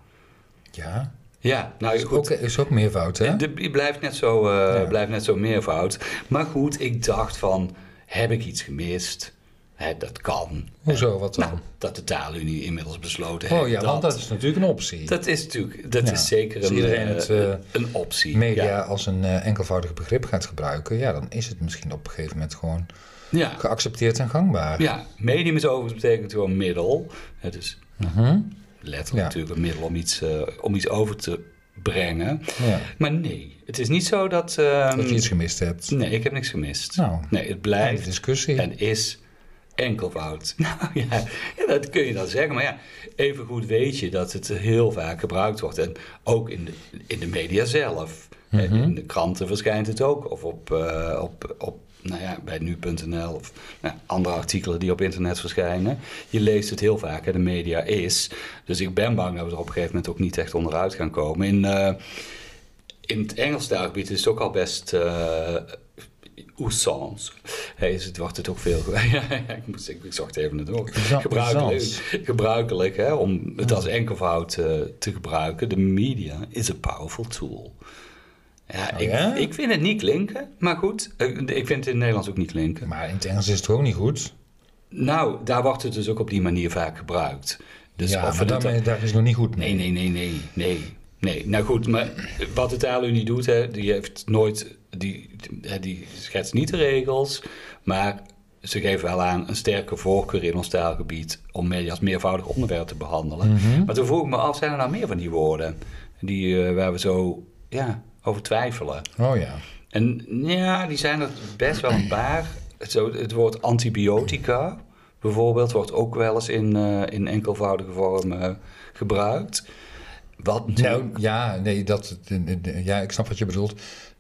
Speaker 2: Ja,
Speaker 1: Ja, nou
Speaker 2: is
Speaker 1: goed.
Speaker 2: ook, is ook meervoud, hè?
Speaker 1: De- Die blijft net zo, eh
Speaker 2: Ja.
Speaker 1: blijft net zo meervoud. Maar goed, ik dacht van, heb ik iets gemist? Hè, dat kan.
Speaker 2: Hoezo, wat dan?
Speaker 1: Nou, dat de taalunie inmiddels besloten
Speaker 2: oh
Speaker 1: heeft.
Speaker 2: ja, want dat is natuurlijk een optie.
Speaker 1: Nou, dat is natuurlijk, dat
Speaker 2: Ja.
Speaker 1: is zeker
Speaker 2: Als
Speaker 1: een,
Speaker 2: iedereen
Speaker 1: eh,
Speaker 2: het, eh,
Speaker 1: een optie.
Speaker 2: media
Speaker 1: Ja.
Speaker 2: als een eh, enkelvoudig begrip gaat gebruiken, ja, dan is het misschien op een gegeven moment gewoon
Speaker 1: Ja.
Speaker 2: geaccepteerd en gangbaar.
Speaker 1: ja, medium is overigens betekent gewoon middel. Het is
Speaker 2: Mhm.
Speaker 1: letterlijk
Speaker 2: Ja.
Speaker 1: natuurlijk een middel om iets, eh, om iets over te brengen.
Speaker 2: Ja,
Speaker 1: Maar nee, het is niet zo dat... ehm,
Speaker 2: dat je iets gemist hebt.
Speaker 1: Nee, ik heb niks gemist.
Speaker 2: Nou,
Speaker 1: Nee, het
Speaker 2: einde
Speaker 1: blijft
Speaker 2: discussie.
Speaker 1: en is enkelvoud. Nou ja, ja, dat kun je dan zeggen. Maar ja, even goed weet je dat het heel vaak gebruikt wordt. En ook in de, in de media zelf. En In de kranten verschijnt het ook. Of op, eh, op, op nou ja, bij nu.nl of nou, andere artikelen die op internet verschijnen. Je leest het heel vaak en de media is. Dus ik ben bang dat we er op een gegeven moment ook niet echt onderuit gaan komen. In, eh, in het Engels taalgebied is het ook al best eh oussance. Hey, is het, wordt het ook veel. ge- ja, ja, ik, moest, ik, ik zocht even het woord.
Speaker 2: Ja,
Speaker 1: Gebruikelijk, gebruikelijk hè, om het als enkelvoud eh, te gebruiken. De media is a powerful tool. Ja,
Speaker 2: Oh
Speaker 1: ik,
Speaker 2: ja?
Speaker 1: ik vind het niet klinken, maar goed. eh, ik vind het in het Nederlands ook niet klinken.
Speaker 2: Maar in het Engels is het gewoon niet goed.
Speaker 1: Nou, daar wordt het dus ook op die manier vaak gebruikt. Dus
Speaker 2: ja,
Speaker 1: of
Speaker 2: maar
Speaker 1: we dat-
Speaker 2: daarmee- daar is nog niet goed mee.
Speaker 1: Nee, nee, nee, nee, nee. Nee, nou goed, maar wat de taalunie doet, hè, die heeft nooit, die, die, die schetst niet de regels, maar ze geven wel aan een sterke voorkeur in ons taalgebied om media als meervoudig onderwerp te behandelen. Maar toen vroeg ik me af, zijn er nou meer van die woorden die, eh, waar we zo ja, over twijfelen?
Speaker 2: Oh ja.
Speaker 1: En ja, die zijn er best wel een paar. Zo, het woord antibiotica bijvoorbeeld wordt ook wel eens in, eh, in enkelvoudige vorm eh, gebruikt. Wat natuurlijk-
Speaker 2: Nou ja, nee, dat, de- de- de- ja, ik snap wat je bedoelt.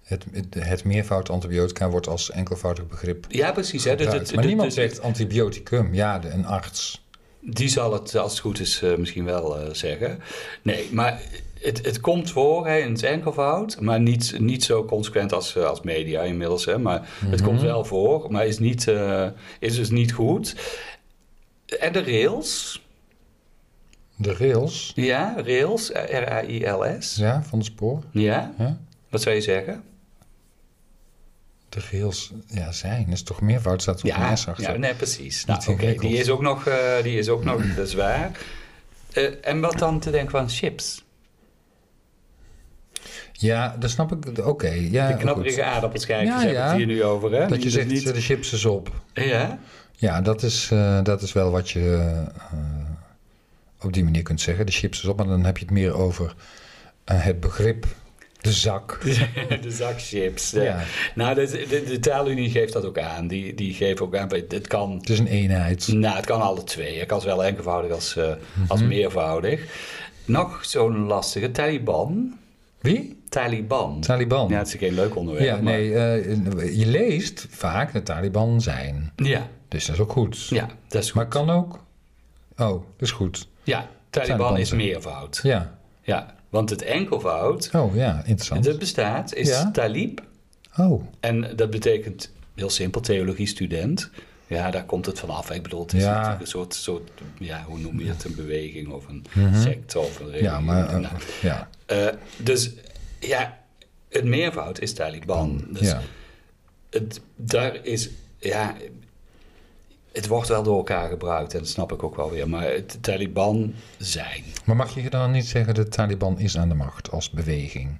Speaker 2: Het, het, het meervoud antibiotica wordt als enkelvoudig begrip
Speaker 1: Ja, precies. Hè? Dus
Speaker 2: gebruikt.
Speaker 1: het-
Speaker 2: maar
Speaker 1: de-
Speaker 2: niemand
Speaker 1: de-
Speaker 2: zegt antibioticum. Ja, de- een arts.
Speaker 1: Die zal het, als het goed is, eh, misschien wel eh, zeggen. Nee, maar het, het komt voor hè, in het enkelvoud, maar niet, niet zo consequent als, eh, als media inmiddels. Hè, maar het
Speaker 2: Mhm.
Speaker 1: komt wel voor, maar is, niet, eh, is dus niet goed. En de rails,
Speaker 2: De rails
Speaker 1: Ja, rails, eh, R-A-I-L-S.
Speaker 2: ja, van het spoor.
Speaker 1: Ja,
Speaker 2: Ja?
Speaker 1: wat zou je zeggen?
Speaker 2: De rails ja, zijn. Is toch meervoud staat op een S achter.
Speaker 1: ja nee, precies. Nou,
Speaker 2: Niet
Speaker 1: oké,
Speaker 2: ingewikkeld.
Speaker 1: die is ook nog, eh, die is ook nog dat is waar. Eh, en wat dan te denken van chips?
Speaker 2: Ja, dat snap ik. Oké, ja.
Speaker 1: De knapperige aardappelschijfjes
Speaker 2: Ja,
Speaker 1: hebben we
Speaker 2: ja.
Speaker 1: het hier nu over, hè?
Speaker 2: goed. Dat
Speaker 1: Die dus
Speaker 2: je zegt, niet... de chips is op.
Speaker 1: Ja,
Speaker 2: Ja, dat is, eh, dat is wel wat je eh, op die manier kunt zeggen. De chips is op, maar dan heb je het meer over eh, het begrip, de zak.
Speaker 1: de zak chips.
Speaker 2: Ja.
Speaker 1: Ja. Nou, de, de, de taalunie geeft dat ook aan. Die, die geeft ook aan, het kan
Speaker 2: Het is een eenheid.
Speaker 1: Nou, het kan alle twee. Het kan zowel enkelvoudig als, eh, als
Speaker 2: Mhm.
Speaker 1: meervoudig. Nog zo'n lastige, Taliban.
Speaker 2: Wie?
Speaker 1: Taliban.
Speaker 2: Taliban.
Speaker 1: Ja,
Speaker 2: Ja,
Speaker 1: het is geen leuk onderwerp. maar-
Speaker 2: nee, eh, je leest vaak de Taliban zijn.
Speaker 1: Ja,
Speaker 2: Dus dat is ook goed.
Speaker 1: ja, dat is goed.
Speaker 2: Maar kan ook. Oh, dat is goed.
Speaker 1: Ja, Taliban,
Speaker 2: Taliban
Speaker 1: is
Speaker 2: zijn.
Speaker 1: meervoud.
Speaker 2: Ja.
Speaker 1: Ja, want het enkelvoud,
Speaker 2: Oh ja, interessant.
Speaker 1: dat bestaat, is
Speaker 2: Ja.
Speaker 1: talib.
Speaker 2: Oh,
Speaker 1: En dat betekent, heel simpel, theologie-student. Ja, daar komt het vanaf. Ik bedoel, het is
Speaker 2: Ja.
Speaker 1: natuurlijk een soort, soort, ja, hoe noem je het, een beweging of een secte of een religie.
Speaker 2: Mhm. ja, maar. eh,
Speaker 1: Nou,
Speaker 2: ja.
Speaker 1: Eh, dus ja, het meervoud is Taliban. Dus
Speaker 2: ja.
Speaker 1: het, daar is, ja, het wordt wel door elkaar gebruikt en dat snap ik ook wel weer. Maar het Taliban zijn.
Speaker 2: Maar mag je dan niet zeggen de Taliban is aan de macht als beweging?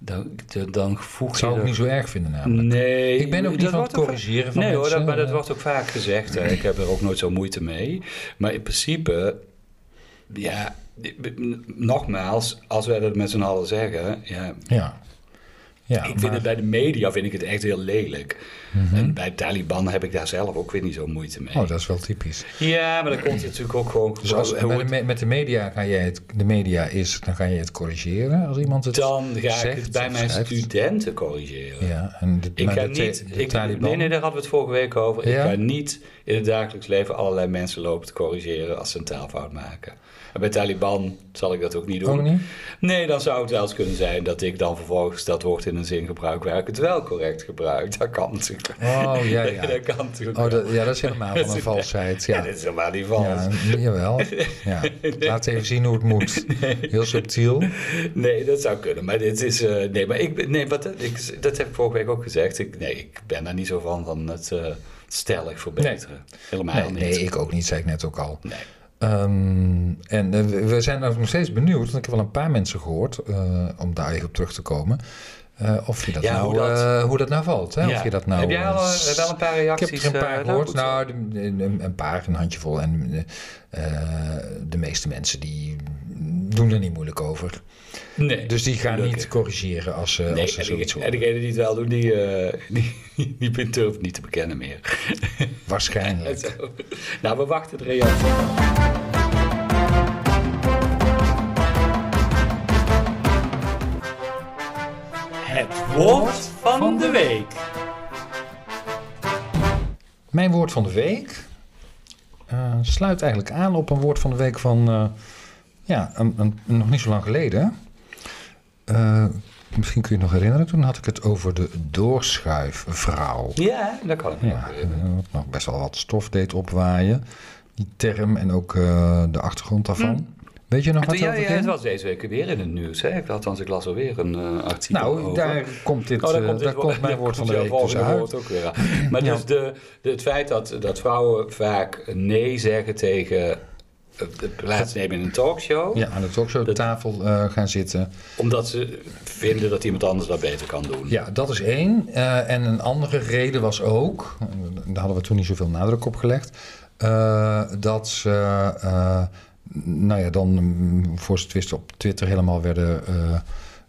Speaker 1: Dan, dan- dan voeg
Speaker 2: Ik
Speaker 1: je.
Speaker 2: zou ik
Speaker 1: er-
Speaker 2: niet zo erg vinden namelijk.
Speaker 1: Nee,
Speaker 2: Ik ben ook niet
Speaker 1: dat
Speaker 2: van het
Speaker 1: wordt ook vaak-
Speaker 2: corrigeren van
Speaker 1: Nee hoor,
Speaker 2: mensen,
Speaker 1: dat, maar dat
Speaker 2: eh.
Speaker 1: wordt ook vaak gezegd. hè. Ik heb er ook nooit zo moeite mee. Maar in principe, ja, nogmaals, als wij dat met z'n allen zeggen, ja,
Speaker 2: Ja. Ja,
Speaker 1: ik vind
Speaker 2: maar- Mhm.
Speaker 1: het bij de media vind ik het echt heel lelijk. En bij Taliban heb ik daar zelf ook weer niet zo moeite mee.
Speaker 2: Oh, dat is wel typisch.
Speaker 1: Ja, maar dan komt het natuurlijk ook gewoon...
Speaker 2: Dus als,
Speaker 1: hoe
Speaker 2: bij de
Speaker 1: het-
Speaker 2: me- met de media ga jij het, de media is, dan ga je het corrigeren als iemand het
Speaker 1: dan ga ik
Speaker 2: zegt
Speaker 1: het bij
Speaker 2: of
Speaker 1: mijn
Speaker 2: schrijft.
Speaker 1: studenten corrigeren.
Speaker 2: Ja, en de,
Speaker 1: Ik
Speaker 2: maar
Speaker 1: ga
Speaker 2: de, ta-
Speaker 1: niet...
Speaker 2: de
Speaker 1: Ik,
Speaker 2: Taliban.
Speaker 1: nee, nee, daar hadden we het vorige week over.
Speaker 2: Ja?
Speaker 1: Ik ga niet in het dagelijks leven allerlei mensen lopen te corrigeren als ze een taalfout maken. En bij Taliban zal ik dat ook niet doen.
Speaker 2: Ook niet?
Speaker 1: Nee, dan zou het wel eens kunnen zijn dat ik dan vervolgens dat woord in een zin gebruikt, waar ik het wel correct gebruik. Dat kan natuurlijk.
Speaker 2: Oh, ja, ja.
Speaker 1: dat kan natuurlijk.
Speaker 2: Oh,
Speaker 1: wel.
Speaker 2: dat, ja, dat is helemaal van een valsheid.
Speaker 1: Ja,
Speaker 2: Ja.
Speaker 1: dit is helemaal niet vals.
Speaker 2: Ja, jawel. Ja. Laat even zien hoe het moet. Heel subtiel.
Speaker 1: Nee, dat zou kunnen. Maar dit is. eh, nee, maar ik, ben- nee wat, eh, ik, dat heb ik vorige week ook gezegd. Ik, nee, ik ben daar niet zo van van het eh stellig verbeteren. Helemaal
Speaker 2: Nee,
Speaker 1: niet.
Speaker 2: nee, ik ook niet, zei ik net ook al.
Speaker 1: Nee.
Speaker 2: Ehm, en eh, we- we zijn ook nog steeds benieuwd, want ik heb wel een paar mensen gehoord, eh, om daar even op terug te komen, eh, of je dat
Speaker 1: Ja,
Speaker 2: nou,
Speaker 1: hoe dat-
Speaker 2: eh, hoe dat nou valt. Hè?
Speaker 1: Ja.
Speaker 2: Of je dat nou,
Speaker 1: heb jij al,
Speaker 2: eh,
Speaker 1: eh, wel een paar
Speaker 2: Ik
Speaker 1: reacties?
Speaker 2: heb er een
Speaker 1: eh,
Speaker 2: paar
Speaker 1: nou,
Speaker 2: gehoord.
Speaker 1: goed zo.
Speaker 2: Nou, de- een, een paar, een handjevol. En eh, eh, de meeste mensen die doen er niet moeilijk over.
Speaker 1: nee.
Speaker 2: Dus die gaan
Speaker 1: Gelukkig.
Speaker 2: niet corrigeren als ze,
Speaker 1: Nee,
Speaker 2: als ze
Speaker 1: en,
Speaker 2: zoiets
Speaker 1: die- en
Speaker 2: horen.
Speaker 1: degene die het wel doen, die, eh die, die, die durft niet te bekennen meer.
Speaker 2: Waarschijnlijk.
Speaker 1: Zo. Nou, we wachten de reactie. Het woord van de week.
Speaker 2: Mijn woord van de week eh, sluit eigenlijk aan op een woord van de week van eh, ja, een, een- nog niet zo lang geleden. Eh, misschien kun je het nog herinneren, toen had ik het over de doorschuifvrouw.
Speaker 1: Ja, dat kan ik me
Speaker 2: Ja,
Speaker 1: ook
Speaker 2: eh,
Speaker 1: herinneren.
Speaker 2: wat nog best wel wat stof deed opwaaien. Die term en ook eh, de achtergrond daarvan. Weet je nog
Speaker 1: En toen,
Speaker 2: wat
Speaker 1: Hmm. ja,
Speaker 2: dat
Speaker 1: ja,
Speaker 2: betekent?
Speaker 1: het was deze week weer in het nieuws. Hè? Ik- Althans, ik las alweer een eh, artikel
Speaker 2: Nou,
Speaker 1: over.
Speaker 2: daar komt dit,
Speaker 1: Oh,
Speaker 2: eh,
Speaker 1: dit
Speaker 2: daar
Speaker 1: wo-
Speaker 2: komt mijn
Speaker 1: daar
Speaker 2: woord van de
Speaker 1: komt
Speaker 2: week
Speaker 1: jouw
Speaker 2: dus
Speaker 1: volgende
Speaker 2: uit.
Speaker 1: woord ook weer aan. Maar
Speaker 2: Ja.
Speaker 1: dus de, de- het feit dat, dat vrouwen vaak nee zeggen tegen eh, het plaatsnemen in een talkshow...
Speaker 2: Ja, aan de talkshow
Speaker 1: Dat-
Speaker 2: tafel eh, gaan zitten.
Speaker 1: omdat ze vinden dat iemand anders dat beter kan doen.
Speaker 2: Ja, dat is één. Eh, en een andere reden was ook, en daar hadden we toen niet zoveel nadruk op gelegd, eh, dat ze, eh, nou ja, dan mm, voor ze twisten op Twitter helemaal werden eh,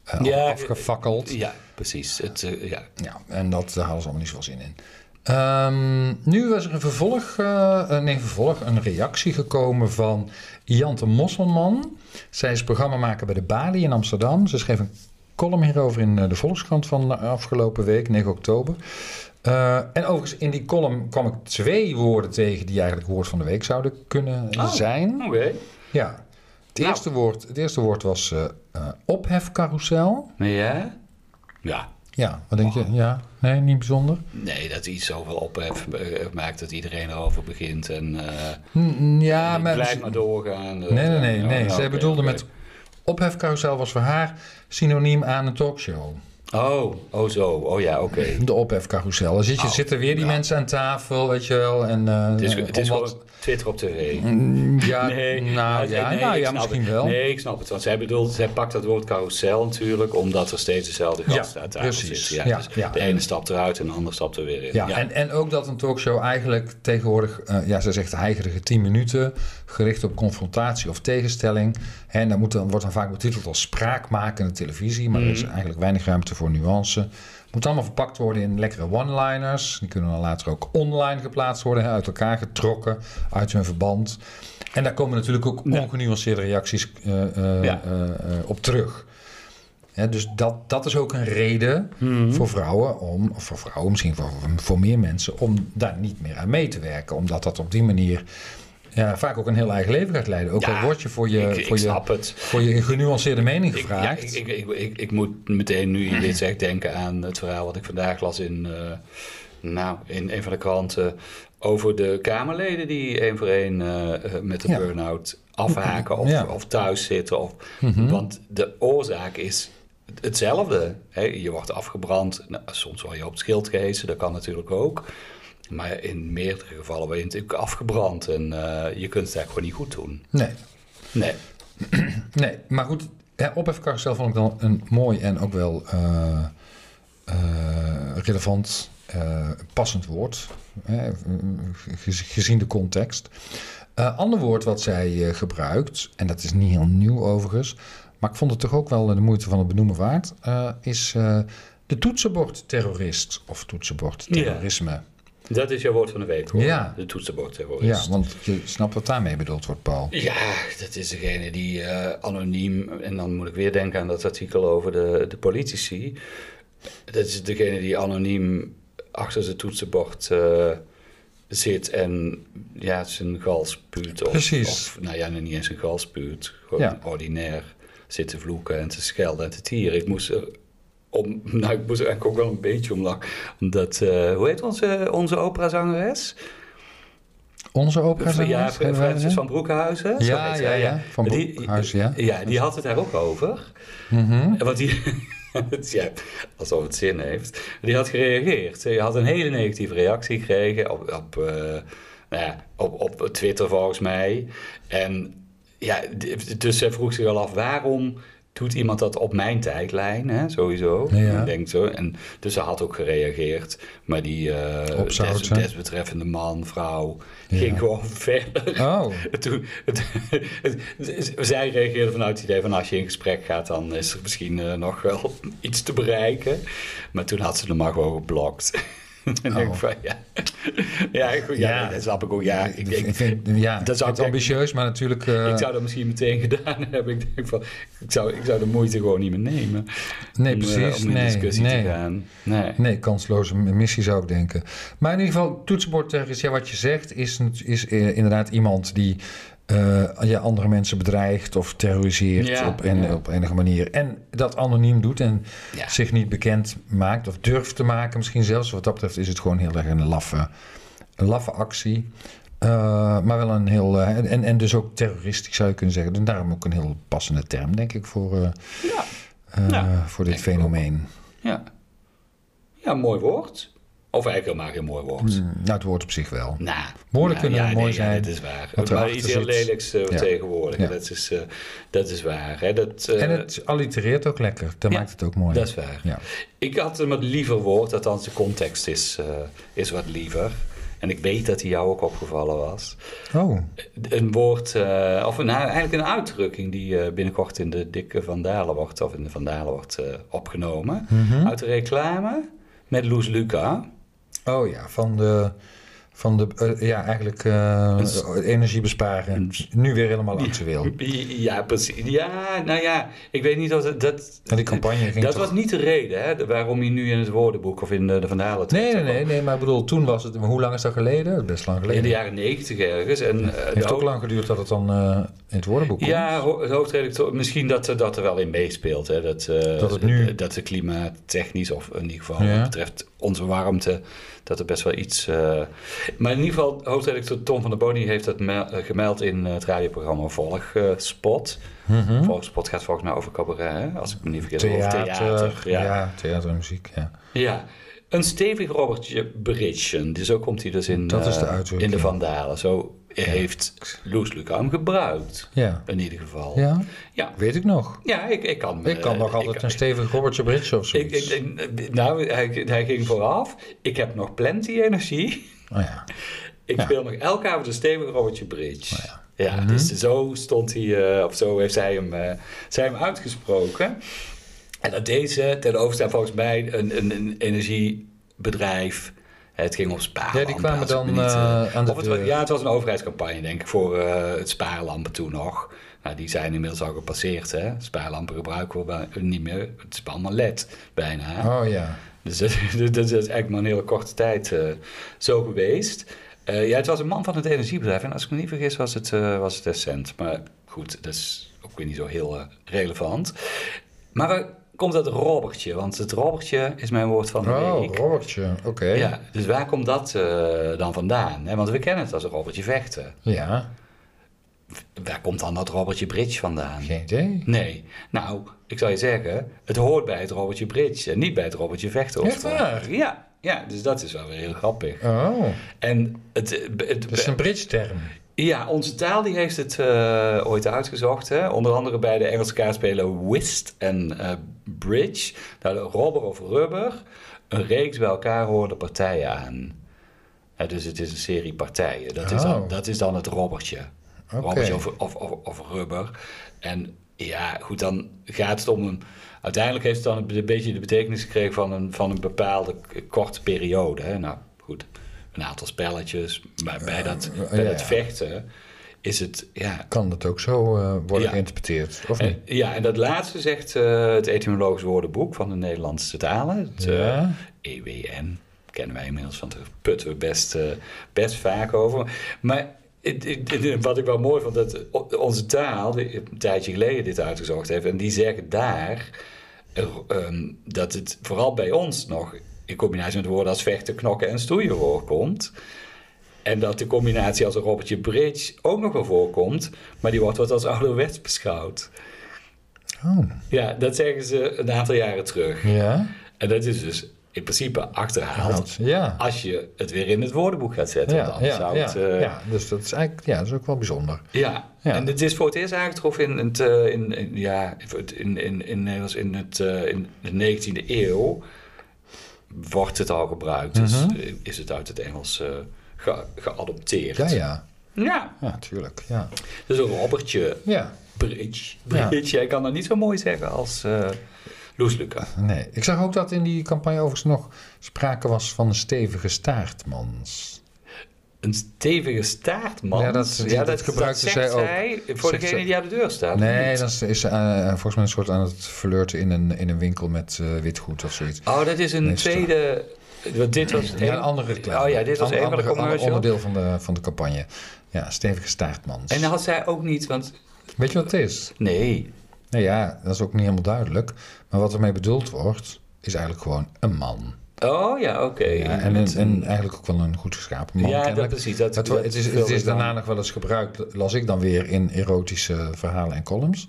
Speaker 2: eh,
Speaker 1: Ja, eh,
Speaker 2: afgefakkeld.
Speaker 1: Ja, precies. Het, eh, ja.
Speaker 2: Ja, en dat, daar hadden ze allemaal niet zoveel zin in. Ehm, nu was er een vervolg, eh, eh, nee, vervolg, een reactie gekomen van Jante Mosselman. Zij is programmamaker bij de Bali in Amsterdam. Ze schreef een column hierover in eh, de Volkskrant van de afgelopen week, 9 oktober. Eh, en overigens, in die column kwam ik twee woorden tegen die eigenlijk woord van de week zouden kunnen eh,
Speaker 1: Oh.
Speaker 2: zijn.
Speaker 1: Oké.
Speaker 2: Ja. Het,
Speaker 1: Nou.
Speaker 2: eerste woord, het eerste woord was eh eh, ophefcarousel.
Speaker 1: Ja? Ja.
Speaker 2: Ja, wat denk je? Ja, nee, niet bijzonder.
Speaker 1: Nee, dat iets zoveel ophef eh, maakt dat iedereen erover begint en eh
Speaker 2: Mm, Ja,
Speaker 1: het
Speaker 2: maar...
Speaker 1: blijft maar doorgaan.
Speaker 2: Nee, nee, nee.
Speaker 1: Oh,
Speaker 2: nee.
Speaker 1: nou,
Speaker 2: Zij
Speaker 1: oké,
Speaker 2: bedoelde
Speaker 1: oké.
Speaker 2: met... Ophefcarousel was voor haar synoniem aan een talkshow.
Speaker 1: Oh, oh zo. Oh ja, oké.
Speaker 2: De ophefcarousel. Dan zit je,
Speaker 1: Oh,
Speaker 2: zitten weer die
Speaker 1: ja.
Speaker 2: mensen aan tafel, weet je wel. En, eh,
Speaker 1: Het is,
Speaker 2: eh,
Speaker 1: het is
Speaker 2: om
Speaker 1: gewoon
Speaker 2: wat-
Speaker 1: Twitter op tv.
Speaker 2: Mm, Ja,
Speaker 1: Nee,
Speaker 2: nou
Speaker 1: nee,
Speaker 2: ja,
Speaker 1: nee,
Speaker 2: nou,
Speaker 1: ik
Speaker 2: ja
Speaker 1: snap
Speaker 2: misschien
Speaker 1: het.
Speaker 2: wel.
Speaker 1: Nee, ik snap het. Want zij bedoelt, zij pakt dat woord carousel natuurlijk, omdat er steeds dezelfde
Speaker 2: Ja,
Speaker 1: gast aan tafel
Speaker 2: precies.
Speaker 1: zit. Ja,
Speaker 2: Ja,
Speaker 1: dus
Speaker 2: ja.
Speaker 1: De ene stapt eruit en de ander stapt er weer in.
Speaker 2: Ja, En, en ook dat een talkshow eigenlijk tegenwoordig, eh, ja, ze zegt heigerige 10 minuten, gericht op confrontatie of tegenstelling. En dat moet dan, wordt dan vaak betiteld als spraakmakende televisie, maar er
Speaker 1: Mhm.
Speaker 2: is eigenlijk weinig ruimte voor nuance. Moet allemaal verpakt worden in lekkere one-liners. Die kunnen dan later ook online geplaatst worden, hè, uit elkaar getrokken, uit hun verband. En daar komen natuurlijk ook
Speaker 1: Ja.
Speaker 2: ongenuanceerde reacties eh, eh,
Speaker 1: Ja.
Speaker 2: eh, eh, op terug. Hè, dus dat, dat is ook een reden
Speaker 1: Mhm.
Speaker 2: voor vrouwen, om, of voor vrouwen, misschien voor, voor meer mensen, om daar niet meer aan mee te werken. Omdat dat op die manier ja, vaak ook een heel eigen leven gaat leiden. Ook
Speaker 1: Ja,
Speaker 2: al word je voor je,
Speaker 1: ik, ik
Speaker 2: voor je,
Speaker 1: snap het.
Speaker 2: voor je genuanceerde mening
Speaker 1: Ik, ja,
Speaker 2: gevraagd.
Speaker 1: ik, ik, ik, ik, ik moet meteen, nu je dit zegt, denken aan het verhaal wat ik vandaag las in, eh, nou, in een van de kranten. Over de Kamerleden die één voor één eh, eh, met de
Speaker 2: Ja.
Speaker 1: burn-out afhaken of,
Speaker 2: Ja. Mhm.
Speaker 1: of thuis zitten. Of, Want de oorzaak is hetzelfde. Hè? Je wordt afgebrand, nou, soms word je op het schild gehesen, dat kan natuurlijk ook. Maar in meerdere gevallen ben je natuurlijk afgebrand en eh, je kunt het eigenlijk gewoon niet goed doen.
Speaker 2: Nee,
Speaker 1: Nee.
Speaker 2: nee, maar goed, hè, ophefcarousel vond ik dan een mooi en ook wel eh, eh, relevant, eh, passend woord. Hè, gez- gezien de context. Eh ander woord wat zij eh, gebruikt, en dat is niet heel nieuw overigens, maar ik vond het toch ook wel de moeite van het benoemen waard, eh, is eh, de toetsenbordterrorist of toetsenbordterrorisme.
Speaker 1: Dat is jouw woord van de week, hoor.
Speaker 2: Ja.
Speaker 1: De toetsenbordterrorist.
Speaker 2: Ja, want je snapt wat daarmee bedoeld wordt, Paul.
Speaker 1: Ja, dat is degene die eh, anoniem, en dan moet ik weer denken aan dat artikel over de, de politici. Dat is degene die anoniem achter zijn toetsenbord eh, zit en ja, zijn gal spuut. Of,
Speaker 2: Precies.
Speaker 1: Of, nou ja, nou niet eens zijn gal spuut. Gewoon
Speaker 2: Ja.
Speaker 1: ordinair zit te vloeken en te schelden en te tieren. Ik moest er om, nou, ik moest eigenlijk ook wel een beetje om lachen. Omdat, eh, hoe heet onze, onze operazangeres?
Speaker 2: Onze opera
Speaker 1: Ja,
Speaker 2: zangeres, hebben wij
Speaker 1: Francis
Speaker 2: gezegd?
Speaker 1: van Broekhuizen. zo
Speaker 2: Ja,
Speaker 1: heet
Speaker 2: ja,
Speaker 1: zij,
Speaker 2: ja. Van
Speaker 1: Die-
Speaker 2: Broekhuizen, ja.
Speaker 1: Ja, die had het daar ook over.
Speaker 2: Mhm.
Speaker 1: Want die, het- ja, alsof het zin heeft. Die had gereageerd. Ze had een hele negatieve reactie gekregen op, op, eh, nou ja, op, op Twitter volgens mij. En ja, d- dus zij vroeg zich al af waarom doet iemand dat op mijn tijdlijn, hè, sowieso.
Speaker 2: Ja.
Speaker 1: Ik denk zo. En, dus ze had ook gereageerd. Maar die eh
Speaker 2: Op zout,
Speaker 1: des-
Speaker 2: hè?
Speaker 1: desbetreffende man, vrouw,
Speaker 2: Ja.
Speaker 1: ging gewoon verder.
Speaker 2: Oh,
Speaker 1: Toen, het- het- zij reageerde vanuit het idee van als je in gesprek gaat, dan is er misschien eh, nog wel iets te bereiken. Maar toen had ze hem maar gewoon geblokt. en denk ik van ja, ja, goed, ja,
Speaker 2: Oh. Ja.
Speaker 1: dat snap ik ook. Ja, ik,
Speaker 2: ik,
Speaker 1: ik,
Speaker 2: vind, Dus ja,
Speaker 1: dat
Speaker 2: dat is
Speaker 1: zou ik-
Speaker 2: ambitieus, maar natuurlijk... eh,
Speaker 1: ik zou dat misschien meteen gedaan hebben. Ik denk van, ik zou, ik zou de moeite gewoon niet meer nemen.
Speaker 2: nee,
Speaker 1: om, eh,
Speaker 2: precies.
Speaker 1: om in
Speaker 2: nee,
Speaker 1: discussie
Speaker 2: nee.
Speaker 1: te gaan. Nee.
Speaker 2: Nee, kansloze missie zou ik denken. Maar in ieder geval, toetsenbord terrorist, ja, wat je zegt, is, is eh, inderdaad iemand die eh, ja, andere mensen bedreigt of terroriseert
Speaker 1: Ja,
Speaker 2: op, en,
Speaker 1: ja.
Speaker 2: op enige manier. En dat anoniem doet en
Speaker 1: Ja.
Speaker 2: zich niet bekend maakt of durft te maken misschien zelfs. Wat dat betreft is het gewoon heel erg een laffe, een laffe actie. Eh, maar wel een heel. eh, en, en dus ook terroristisch zou je kunnen zeggen. En daarom ook een heel passende term, denk ik, voor, eh,
Speaker 1: Ja,
Speaker 2: eh,
Speaker 1: Ja,
Speaker 2: voor dit
Speaker 1: denk ik ook.
Speaker 2: fenomeen.
Speaker 1: ja. ja, mooi woord. Of eigenlijk helemaal geen mooi woord.
Speaker 2: Mm, Nou, het woord op zich wel.
Speaker 1: Nou,
Speaker 2: Woorden
Speaker 1: nou,
Speaker 2: kunnen mooi
Speaker 1: Ja,
Speaker 2: zijn,
Speaker 1: dat is waar.
Speaker 2: wat
Speaker 1: maar
Speaker 2: erachter
Speaker 1: iets heel
Speaker 2: zit.
Speaker 1: lelijks eh,
Speaker 2: Ja.
Speaker 1: tegenwoordig.
Speaker 2: Ja.
Speaker 1: Dat, is, eh, dat is waar. Hè? Dat, eh,
Speaker 2: En het allitereert ook lekker. Dat
Speaker 1: ja,
Speaker 2: maakt het ook mooi.
Speaker 1: dat is waar.
Speaker 2: Ja.
Speaker 1: Ik had een wat liever woord, althans de context is, eh, is wat liever. En ik weet dat die jou ook opgevallen was.
Speaker 2: Oh,
Speaker 1: Een woord, eh, of een, eigenlijk een uitdrukking die eh, binnenkort in de dikke Vandalen wordt, of in de Vandalen wordt eh, opgenomen.
Speaker 2: Mhm.
Speaker 1: Uit de reclame met Loes Luca.
Speaker 2: oh ja, van de. Van de eh, ja, eigenlijk eh,
Speaker 1: Dus-
Speaker 2: energie besparen. Nu weer helemaal actueel.
Speaker 1: Ja, precies. Ja, nou ja, ik weet niet of het- dat...
Speaker 2: En die campagne ging.
Speaker 1: Dat
Speaker 2: toch-
Speaker 1: was niet de reden hè, de- waarom hij nu in het woordenboek of in de, de Vandalen
Speaker 2: Nee,
Speaker 1: terecht
Speaker 2: nee,
Speaker 1: zou
Speaker 2: nee, nee, maar ik bedoel, toen was het. maar Hoe lang is dat geleden? Best lang
Speaker 1: komen. In
Speaker 2: geleden.
Speaker 1: de jaren negentig ergens. En, eh,
Speaker 2: Het
Speaker 1: de
Speaker 2: heeft ook
Speaker 1: hoofd-
Speaker 2: lang geduurd dat het dan eh, in het woordenboek komt.
Speaker 1: Ja, ho- de hoofdredacteur, misschien dat eh, dat er wel in meespeelt. Hè, dat, eh,
Speaker 2: Dat het nu-
Speaker 1: Dat de klimaattechnisch, of in ieder geval
Speaker 2: Ja.
Speaker 1: wat betreft onze warmte, dat er best wel iets... eh, Maar in ieder geval, hoofdredacteur Tom van der Boni heeft dat me- eh, gemeld in eh, het radioprogramma Volgspot.
Speaker 2: Mhm.
Speaker 1: Volgspot gaat volgens mij over cabaret, hè, als ik me niet vergis. Over
Speaker 2: Theater, ja. theater en muziek. Ja.
Speaker 1: Ja, een stevig Robertje Bridgen. Dus zo komt hij dus in,
Speaker 2: Dat is de
Speaker 1: eh, in
Speaker 2: uitdrukking.
Speaker 1: de Vandalen. Zo heeft Loes Luca hem gebruikt,
Speaker 2: Ja.
Speaker 1: in ieder geval.
Speaker 2: ja,
Speaker 1: ja.
Speaker 2: weet ik nog.
Speaker 1: Ja, ik, ik kan...
Speaker 2: Ik kan
Speaker 1: eh,
Speaker 2: nog altijd een stevig Robertje Brits of
Speaker 1: Ik,
Speaker 2: zoiets.
Speaker 1: ik, ik- nou, hij, hij ging vooraf. Ik heb nog plenty energie.
Speaker 2: Oh ja.
Speaker 1: Ik
Speaker 2: Ja. Oh Mhm.
Speaker 1: speel nog elke avond een stevig Robertje Bridge. ja, dus zo stond hij, eh, of zo heeft zij hem, eh, zij hem uitgesproken. En dat deed ze ten overstaan volgens mij een, een, een energiebedrijf. Het ging om spaarlampen.
Speaker 2: Ja, die kwamen
Speaker 1: als ik me
Speaker 2: dan,
Speaker 1: niet, eh,
Speaker 2: eh, aan de
Speaker 1: of het wa-
Speaker 2: deur.
Speaker 1: Ja, het was een overheidscampagne, denk ik, voor eh, het spaarlampen toen nog. Nou, die zijn inmiddels al gepasseerd, hè. Spaarlampen gebruiken we bij- niet meer. Het is allemaal led, bijna.
Speaker 2: Oh ja.
Speaker 1: Dus dat, dat- dat is eigenlijk maar een hele korte tijd eh, zo geweest. Eh, ja, het was een man van het energiebedrijf. En als ik me niet vergis, was het, eh was het Essent. Maar goed, dat is ook weer niet zo heel eh, relevant. Maar waar komt dat Robertje? Want het Robertje is mijn woord van de
Speaker 2: Oh,
Speaker 1: week.
Speaker 2: Robertje. Oké.
Speaker 1: Ja, dus waar komt dat eh, dan vandaan? hè? Want we kennen het als Robertje Vechten.
Speaker 2: ja,
Speaker 1: Waar komt dan dat Robertje Bridge vandaan?
Speaker 2: geen idee.
Speaker 1: Nee. Nou, ik zal je zeggen, het hoort bij het Robertje Bridge en niet bij het Robertje Vechter.
Speaker 2: Echt waar?
Speaker 1: Ja, ja, dus dat is wel weer heel grappig.
Speaker 2: Oh,
Speaker 1: En het, eh, het-
Speaker 2: dat is een Bridge-term.
Speaker 1: ja, onze taal die heeft het eh, ooit uitgezocht. Hè? Onder andere bij de Engelse kaartspelen whist en eh, bridge. Nou, de robber of rubber, een reeks bij elkaar horende partijen aan. Hè, dus het is een serie partijen. Dat, is, dan,
Speaker 2: Oh.
Speaker 1: dat is dan het robbertje.
Speaker 2: Oké.
Speaker 1: Robbertje of, of, of, of rubber. En ja, goed, dan gaat het om een... Uiteindelijk heeft het dan een, beetje de betekenis gekregen van een, van een bepaalde k- korte periode. Hè? Nou, goed, een aantal spelletjes. Maar bij dat,
Speaker 2: Eh,
Speaker 1: bij
Speaker 2: ja,
Speaker 1: dat
Speaker 2: ja.
Speaker 1: vechten is het... Ja,
Speaker 2: Kan dat ook zo eh, worden
Speaker 1: Ja.
Speaker 2: geïnterpreteerd? Of niet?
Speaker 1: en, ja, en dat laatste zegt eh, het etymologisch woordenboek van de Nederlandse talen. Het eh,
Speaker 2: Ja.
Speaker 1: EWN kennen wij inmiddels, want daar putten we best, eh, best vaak over. Maar het- het- het- wat ik wel mooi vond, dat o- onze taal, die een tijdje geleden dit uitgezocht heeft, en die zeggen daar, eh, eh, ehm, dat het vooral bij ons nog in combinatie met woorden als vechten, knokken en stoeien voorkomt. En dat de combinatie als een robbertje bridge ook nog wel voorkomt, maar die wordt wat als ouderwets beschouwd.
Speaker 2: Oh.
Speaker 1: Ja, dat zeggen ze een aantal jaren terug.
Speaker 2: Ja.
Speaker 1: En dat is dus in principe achterhaald
Speaker 2: Ja.
Speaker 1: als je het weer in het woordenboek gaat zetten. want
Speaker 2: Ja,
Speaker 1: anders
Speaker 2: ja,
Speaker 1: zou
Speaker 2: ja,
Speaker 1: het, eh,
Speaker 2: ja, dus dat is eigenlijk ja, dat is ook wel bijzonder.
Speaker 1: Ja.
Speaker 2: Ja.
Speaker 1: en het is voor het eerst aangetroffen in, het, eh, in, in, ja, in, in, in Nederlands in, het, eh, in de 19e eeuw. Wordt het al gebruikt, dus
Speaker 2: Mhm.
Speaker 1: eh, is het uit het Engels eh, ge- geadopteerd.
Speaker 2: Ja, ja.
Speaker 1: Ja,
Speaker 2: Ja, tuurlijk. Ja.
Speaker 1: dus een robbertje,
Speaker 2: ja.
Speaker 1: bridge.
Speaker 2: Ja.
Speaker 1: bridge. Jij kan dat niet zo mooi zeggen als eh Loes Luca.
Speaker 2: Nee. Ik zag ook dat in die campagne overigens nog sprake was van een stevige staartmans.
Speaker 1: Een stevige staartman.
Speaker 2: Ja, dat- dat gebruikte
Speaker 1: zegt
Speaker 2: zij ook.
Speaker 1: zij voor
Speaker 2: Zegt
Speaker 1: degene
Speaker 2: ze-
Speaker 1: die aan de deur staat.
Speaker 2: Nee, dat is, is eh, volgens mij een soort aan het flirten in een, in een winkel met eh, witgoed of zoiets.
Speaker 1: Oh, dat is een
Speaker 2: Nee, sorry.
Speaker 1: tweede... want Dit was
Speaker 2: Ja, een andere reclame.
Speaker 1: Oh ja, dit was
Speaker 2: Ander-
Speaker 1: een van de
Speaker 2: andere- ander
Speaker 1: commercials.
Speaker 2: onderdeel van de, van de campagne. Ja, stevige staartmans.
Speaker 1: En dat had zij ook niet, want...
Speaker 2: Weet je wat het is?
Speaker 1: Nee.
Speaker 2: Nou ja, dat is ook niet helemaal duidelijk. Maar wat ermee bedoeld wordt, is eigenlijk gewoon een man.
Speaker 1: Oh ja, oké.
Speaker 2: Ja, en, en, en eigenlijk ook wel een goed geschapen man.
Speaker 1: Ja, dat
Speaker 2: kennelijk.
Speaker 1: precies, dat-
Speaker 2: het, wo-
Speaker 1: dat
Speaker 2: het is, het
Speaker 1: vulde
Speaker 2: is
Speaker 1: ik dan.
Speaker 2: daarna nog wel eens gebruikt, las ik dan weer in erotische verhalen en columns.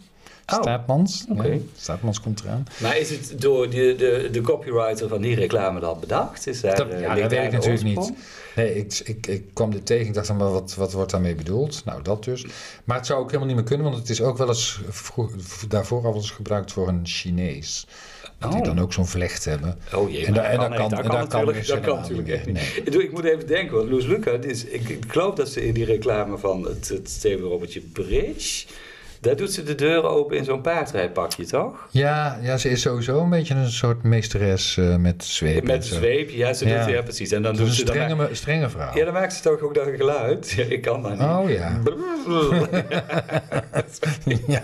Speaker 1: Oh.
Speaker 2: Staatmans.
Speaker 1: Oké.
Speaker 2: Ja, Staatmans komt eraan.
Speaker 1: Maar is het door de, de, de copywriter van die reclame dan bedacht? Is daar,
Speaker 2: Dat,
Speaker 1: eh,
Speaker 2: ja,
Speaker 1: ligt
Speaker 2: dat weet
Speaker 1: daar
Speaker 2: ik
Speaker 1: de
Speaker 2: natuurlijk niet.
Speaker 1: oorsprong?
Speaker 2: Nee, ik, ik, ik kwam dit tegen. Ik dacht, dan, maar wat, wat wordt daarmee bedoeld? Nou, dat dus. Maar het zou ook helemaal niet meer kunnen, want het is ook wel eens vroeg- daarvoor al wel eens gebruikt voor een Chinees. Dat die
Speaker 1: Oh.
Speaker 2: dan ook zo'n vlecht hebben.
Speaker 1: Oh jee,
Speaker 2: En
Speaker 1: maar
Speaker 2: daar- en daar
Speaker 1: echt-
Speaker 2: kan- en daar kan
Speaker 1: natuurlijk,
Speaker 2: dus
Speaker 1: dat kan
Speaker 2: helemaal
Speaker 1: natuurlijk
Speaker 2: niet
Speaker 1: echt
Speaker 2: meer.
Speaker 1: niet. Ik, doe- ik moet even denken, want Loes Luca, die is, ik, ik geloof dat ze in die reclame van het, het Steven Robertje Bridge, daar doet ze de deuren open in zo'n paardrijpakje, toch?
Speaker 2: Ja, ja, ze is sowieso een beetje een soort meesteres eh, met zweep. en
Speaker 1: Met
Speaker 2: zo.
Speaker 1: een zweepje, ja, ze
Speaker 2: Ja.
Speaker 1: doet ja precies. En dan
Speaker 2: Dat
Speaker 1: doet
Speaker 2: is
Speaker 1: ze
Speaker 2: een
Speaker 1: dan.
Speaker 2: strenge, me- strenge vrouw.
Speaker 1: Ja, dan maakt ze toch ook dat geluid. Ja, ik kan dat niet.
Speaker 2: Oh ja. ja.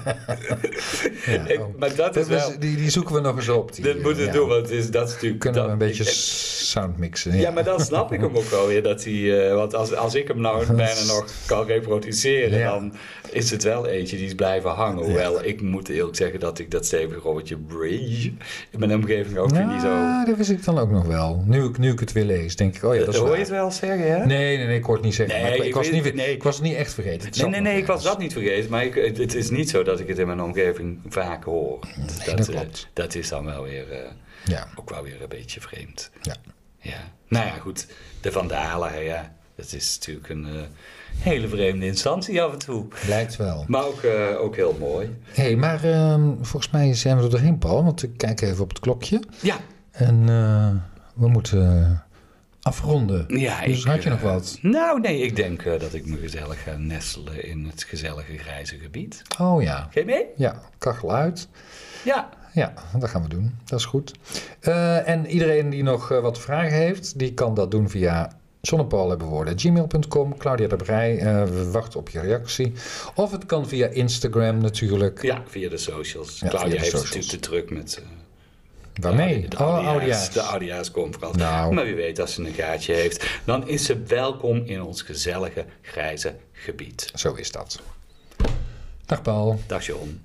Speaker 2: Ja,
Speaker 1: Ik-
Speaker 2: oh.
Speaker 1: maar dat is wel-
Speaker 2: die, die zoeken we nog eens op. Die, eh,
Speaker 1: Dit moeten we
Speaker 2: ja.
Speaker 1: doen, want het is, dat is natuurlijk...
Speaker 2: Kunnen we
Speaker 1: dat-
Speaker 2: een beetje
Speaker 1: ik-
Speaker 2: sound mixen?
Speaker 1: Ja, maar dan snap ik hem ook wel weer. Dat hij, eh, want als, als ik hem nou bijna nog kan reproduceren,
Speaker 2: Ja.
Speaker 1: dan is het wel eentje die is blijven hangen. Hoewel, ik moet eerlijk zeggen dat ik dat stevige robbertje Bridge in mijn omgeving ook weer niet zo... Eh,
Speaker 2: Ja, dat wist ik dan ook nog wel. Nu, ik- nu ik het weer lees, denk ik, oh Ah, ja, dat is
Speaker 1: Hoor je
Speaker 2: waar.
Speaker 1: het wel zeggen, hè?
Speaker 2: Nee, nee, nee, ik hoor het niet zeggen.
Speaker 1: Nee,
Speaker 2: maar ik, ik
Speaker 1: ik
Speaker 2: was
Speaker 1: weet-
Speaker 2: niet, weer-
Speaker 1: nee.
Speaker 2: ik was het niet echt vergeten. Het
Speaker 1: Nee,
Speaker 2: zat
Speaker 1: nee,
Speaker 2: nog
Speaker 1: nee, ik was
Speaker 2: ergens.
Speaker 1: dat niet vergeten, maar ik, het, het is niet zo dat ik het in mijn omgeving vaak hoor. Dus
Speaker 2: dat
Speaker 1: eh,
Speaker 2: klopt.
Speaker 1: dat is dan wel weer, eh,
Speaker 2: Ja,
Speaker 1: ook wel weer een beetje vreemd.
Speaker 2: ja.
Speaker 1: Ja, nou ja, goed. De Vandalen, hè, ja. Dat is natuurlijk een eh, hele vreemde instantie af en toe.
Speaker 2: Lijkt wel.
Speaker 1: Maar ook, eh, ook heel mooi.
Speaker 2: Hé, hey, maar ehm, volgens mij zijn we er doorheen, Paul. Want ik kijk even op het klokje.
Speaker 1: Ja.
Speaker 2: En eh, we moeten afronden.
Speaker 1: ja
Speaker 2: dus
Speaker 1: ik,
Speaker 2: had je
Speaker 1: eh,
Speaker 2: nog wat?
Speaker 1: Nou, nee, ik denk eh, dat ik me gezellig ga nestelen in het gezellige grijze gebied.
Speaker 2: Oh ja.
Speaker 1: Ga je mee?
Speaker 2: Ja, kachel uit.
Speaker 1: Ja.
Speaker 2: Ja, dat gaan we doen. Dat is goed. Eh, en iedereen die nog eh, wat vragen heeft, die kan dat doen via zonnepaulhebbenwoorden.gmail.com, Claudia de Brij, eh, we wachten op je reactie. Of het kan via Instagram natuurlijk.
Speaker 1: Ja, via de socials.
Speaker 2: Ja,
Speaker 1: Claudia
Speaker 2: via de
Speaker 1: heeft
Speaker 2: socials.
Speaker 1: natuurlijk te druk met... eh,
Speaker 2: Waarmee?
Speaker 1: De
Speaker 2: oh,
Speaker 1: Audia's.
Speaker 2: Audia's.
Speaker 1: De Audia's-conferentie.
Speaker 2: Nou.
Speaker 1: Maar wie weet, als ze een gaatje heeft, dan is ze welkom in ons gezellige grijze gebied.
Speaker 2: Zo is dat. Dag Paul.
Speaker 1: Dag John.